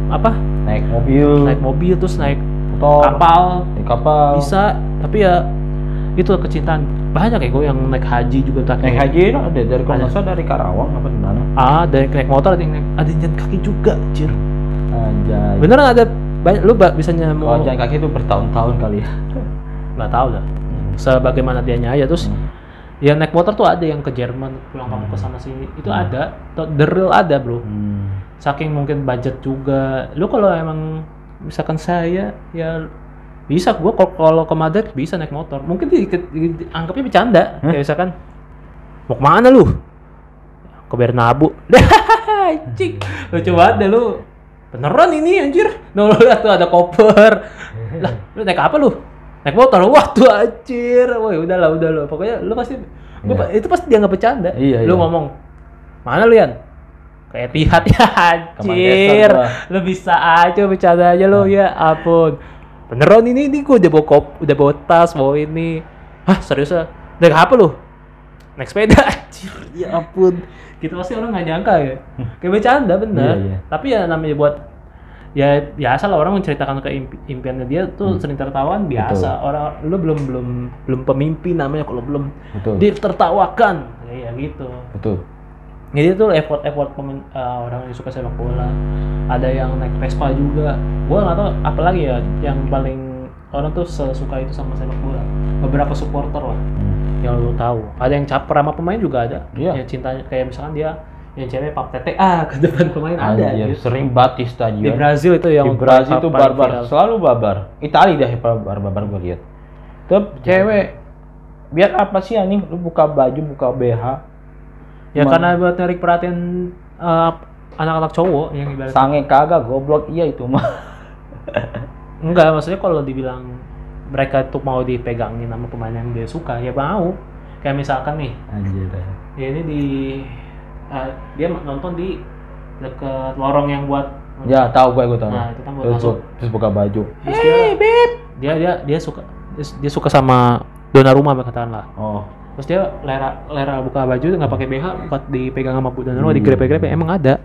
Speaker 1: apa
Speaker 2: naik mobil,
Speaker 1: naik mobil terus naik
Speaker 2: motor,
Speaker 1: kapal
Speaker 2: naik kapal.
Speaker 1: bisa tapi ya itu kecintaan banyak ya gue yang naik haji juga tak
Speaker 2: Naik haji no, ada dari kalau
Speaker 1: Ada.
Speaker 2: nggak salah dari Karawang apa di mana?
Speaker 1: ah dari naik motor ada yang naik ada yang jalan kaki juga anjir
Speaker 2: Anjay.
Speaker 1: bener nggak ada banyak lu ba- bisa
Speaker 2: Kalau
Speaker 1: nyamuk
Speaker 2: Oh, jalan kaki itu bertahun-tahun kali ya.
Speaker 1: nggak tahu dah sebagaimana dianya aja terus ya naik motor tuh ada yang ke Jerman pulang kamu ke sana sini itu ada the real ada bro
Speaker 2: Hmm.
Speaker 1: saking mungkin budget juga lu kalau emang misalkan saya ya Bisa gua kal- kalau ke Madrid bisa naik motor. Mungkin di, di- di- dianggapnya bercanda. Kayak misalkan mau kemana lu? Ke Bernabu. Cik, lucu banget deh lu. Beneran ini anjir. Nah, lu lihat tuh ada koper. Lah, lu naik apa lu? Naik motor. Wah, tuh anjir. Woi, udah lah, udah lah. Pokoknya lu pasti gua,
Speaker 2: Iya.
Speaker 1: itu pasti dianggap bercanda.
Speaker 2: Iya,
Speaker 1: lu
Speaker 2: iya.
Speaker 1: ngomong mana lu Yan? Kayak tihat ya anjir.
Speaker 2: Manchester gua. Nah.
Speaker 1: Lu bisa aja bercanda aja lu ya ampun. Beneran ini ini gua udah bawa kop, udah bawa tas, bawa ini. Hah, serius ya? Naik apa lu? Naik sepeda anjir. Ya ampun. Kita pasti orang nggak nyangka ya. Kayak bercanda bener.
Speaker 2: Iya, iya.
Speaker 1: Tapi ya namanya buat ya biasa lah orang menceritakan ke impi- impiannya dia tuh
Speaker 2: Hmm.
Speaker 1: sering tertawan biasa orang lu belum belum belum pemimpin namanya kalau belum
Speaker 2: Betul.
Speaker 1: ditertawakan ya, ya gitu
Speaker 2: Betul.
Speaker 1: jadi itu effort effort pemen, eh, orang yang suka sepak bola ada yang naik Vespa juga gua nggak tahu apalagi ya yang paling orang tuh suka itu sama sepak bola beberapa supporter lah yang lu tahu ada yang caper sama pemain juga ada
Speaker 2: Iya.
Speaker 1: yang cintanya kayak misalkan dia yang cewek pap tete ah ke depan pemain ada
Speaker 2: Anjir,
Speaker 1: gitu.
Speaker 2: sering Batista
Speaker 1: di
Speaker 2: juga.
Speaker 1: Brazil itu yang
Speaker 2: Di Brazil
Speaker 1: paling-
Speaker 2: itu
Speaker 1: paling
Speaker 2: barbar,
Speaker 1: viral.
Speaker 2: selalu barbar. Itali dah yang barbar, barbar gue lihat.
Speaker 1: Iya.
Speaker 2: Tapi cewek, biar apa sih anjing? Lu buka baju, buka BH,
Speaker 1: ya
Speaker 2: Cuman-
Speaker 1: karena buat narik perhatian eh, anak-anak cowok yang ibarat
Speaker 2: sange kagak, goblok iya itu mah.
Speaker 1: Enggak, maksudnya kalau dibilang mereka tuh mau dipegangin sama pemain yang dia suka, ya mau. Kayak misalkan nih,
Speaker 2: Anjir.
Speaker 1: ya ini di eh, dia nonton di dekat lorong yang buat
Speaker 2: Ya tahu gue, gue tahu.
Speaker 1: Nah, itu kan buat
Speaker 2: terus,
Speaker 1: masuk.
Speaker 2: terus buka baju.
Speaker 1: Terus dia, dia dia dia suka dia suka sama dona rumah katakanlah.
Speaker 2: Oh,
Speaker 1: Terus dia lera lera buka baju nggak pakai BH buat dipegang sama Bu Dona rumah digrepe-grepe emang ada.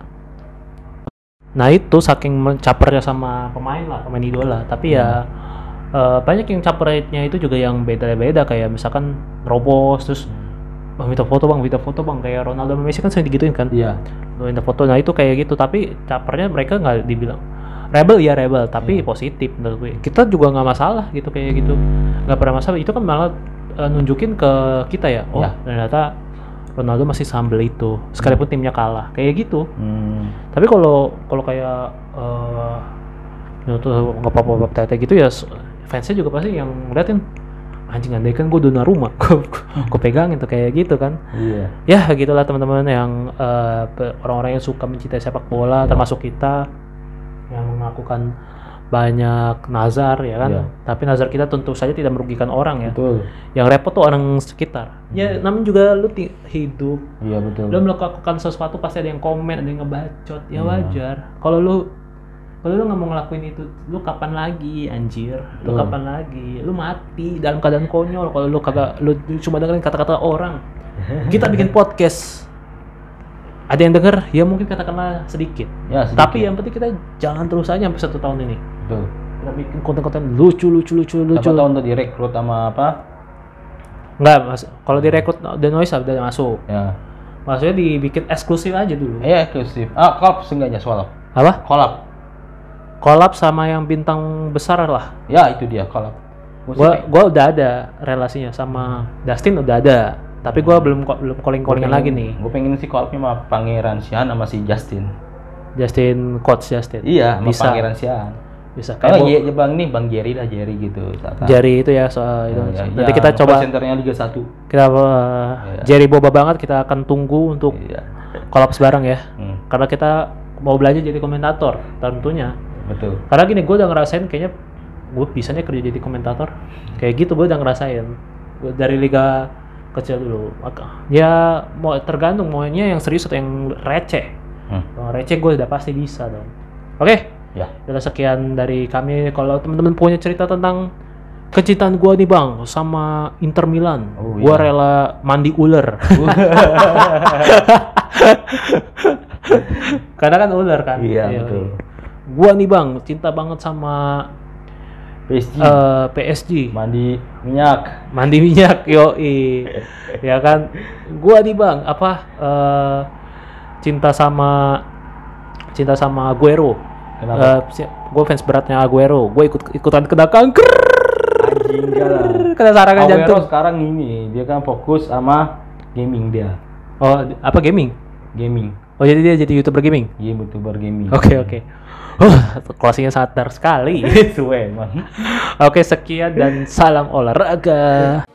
Speaker 1: Nah itu saking mencapernya sama pemain lah, pemain idola. Tapi ya eh, banyak yang capernya itu juga yang beda-beda kayak misalkan robos terus bang minta foto bang minta foto bang kayak Ronaldo sama Messi kan sering digituin kan
Speaker 2: iya.
Speaker 1: "Lu minta foto nah itu kayak gitu tapi capernya mereka nggak dibilang rebel ya rebel tapi positif menurut gue kita juga nggak masalah gitu kayak gitu nggak pernah masalah itu kan malah eh, nunjukin ke kita ya oh
Speaker 2: Ya.
Speaker 1: ternyata Ronaldo masih sambel itu sekalipun timnya kalah kayak gitu
Speaker 2: Hmm.
Speaker 1: tapi kalau kalau kayak eh nyoto nggak apa-apa bab tete gitu ya s- fansnya juga pasti yang ngeliatin anjing andai kan gue dona rumah gue pegangin tuh kayak gitu kan
Speaker 2: Iya.
Speaker 1: ya gitulah teman-teman yang eh, pe- orang-orang yang suka mencintai sepak bola termasuk kita yang melakukan banyak nazar ya kan
Speaker 2: Iya.
Speaker 1: tapi nazar kita tentu saja tidak merugikan orang ya
Speaker 2: Betul.
Speaker 1: yang repot tuh orang sekitar ya namanya juga lu ti- hidup
Speaker 2: Iya betul.
Speaker 1: lo melakukan sesuatu pasti ada yang komen ada yang ngebacot ya wajar kalau lu kalau lu nggak mau ngelakuin itu lu kapan lagi anjir lu
Speaker 2: Betul.
Speaker 1: kapan lagi lu mati dalam keadaan konyol kalau lu kagak lu cuma dengerin kata-kata orang kita bikin podcast ada yang denger ya mungkin katakanlah sedikit,
Speaker 2: Ya, sedikit.
Speaker 1: tapi yang penting kita jalan terus aja sampai satu tahun ini
Speaker 2: betul.
Speaker 1: kita bikin konten-konten lucu lucu lucu lucu
Speaker 2: Siapa tahu untuk direkrut sama apa?
Speaker 1: nggak mas kalau direkrut The Noise udah masuk
Speaker 2: Ya.
Speaker 1: maksudnya dibikin eksklusif aja dulu
Speaker 2: Iya eksklusif. Ah, kolab seenggaknya soalnya.
Speaker 1: Eh, apa
Speaker 2: Kolab.
Speaker 1: kolab sama yang bintang besar lah.
Speaker 2: Ya itu dia kolab. Gua
Speaker 1: Gua gua udah ada relasinya sama Dustin udah ada, tapi gua belum ko- belum calling-callingan lagi nih.
Speaker 2: Gue pengen sih collabnya sama Pangeran Sian sama si Justin.
Speaker 1: Justin coach Justin.
Speaker 2: Iya, sama
Speaker 1: Bisa.
Speaker 2: Pangeran Sian.
Speaker 1: Bisa kayak
Speaker 2: Kayak
Speaker 1: gua-
Speaker 2: Ye- bang nih, Bang Jerry lah Jerry gitu. Saka.
Speaker 1: Jerry itu ya soal itu.
Speaker 2: Ya,
Speaker 1: Nanti
Speaker 2: ya,
Speaker 1: kita
Speaker 2: call
Speaker 1: coba
Speaker 2: centernya Liga 1.
Speaker 1: kita uh, Jerry boba banget kita akan tunggu untuk
Speaker 2: Iya.
Speaker 1: kolaps bareng ya.
Speaker 2: Hmm,
Speaker 1: Karena kita mau belajar jadi komentator tentunya.
Speaker 2: betul.
Speaker 1: Karena gini gue udah ngerasain kayaknya gue bisanya kerja jadi komentator. Kayak gitu gue udah ngerasain. Gua dari liga kecil dulu. Ak- Ya mau tergantung maunya yang serius atau yang receh.
Speaker 2: Hmm.
Speaker 1: Kalau receh gue udah pasti bisa dong. Oke,
Speaker 2: Ya.
Speaker 1: udah sekian dari kami. Kalau teman-teman punya cerita tentang kecintaan gue nih bang sama Inter Milan,
Speaker 2: Oh,
Speaker 1: gue
Speaker 2: iya.
Speaker 1: rela mandi ular. Iya, Karena kan ular kan.
Speaker 2: Iya, betul.
Speaker 1: Gua nih bang, cinta banget sama
Speaker 2: PSG
Speaker 1: eh, PSG.
Speaker 2: mandi minyak.
Speaker 1: Mandi minyak, yoi. ya kan? Gua nih bang, apa eh, cinta sama cinta sama Aguero. Eh.
Speaker 2: Kenapa?
Speaker 1: gue fans beratnya Aguero. Gue ikut ikutan kena kanker,
Speaker 2: Anjing enggak lah.
Speaker 1: kena sarangan
Speaker 2: Aguero
Speaker 1: jantung.
Speaker 2: sekarang ini dia kan fokus sama gaming dia.
Speaker 1: Oh, apa gaming?
Speaker 2: Gaming.
Speaker 1: Oh, jadi dia jadi youtuber gaming.
Speaker 2: Iya, youtuber gaming.
Speaker 1: Oke, oke. Huh, closingnya sangat dark sekali.
Speaker 2: Suwe emang.
Speaker 1: Oke, sekian dan salam olahraga.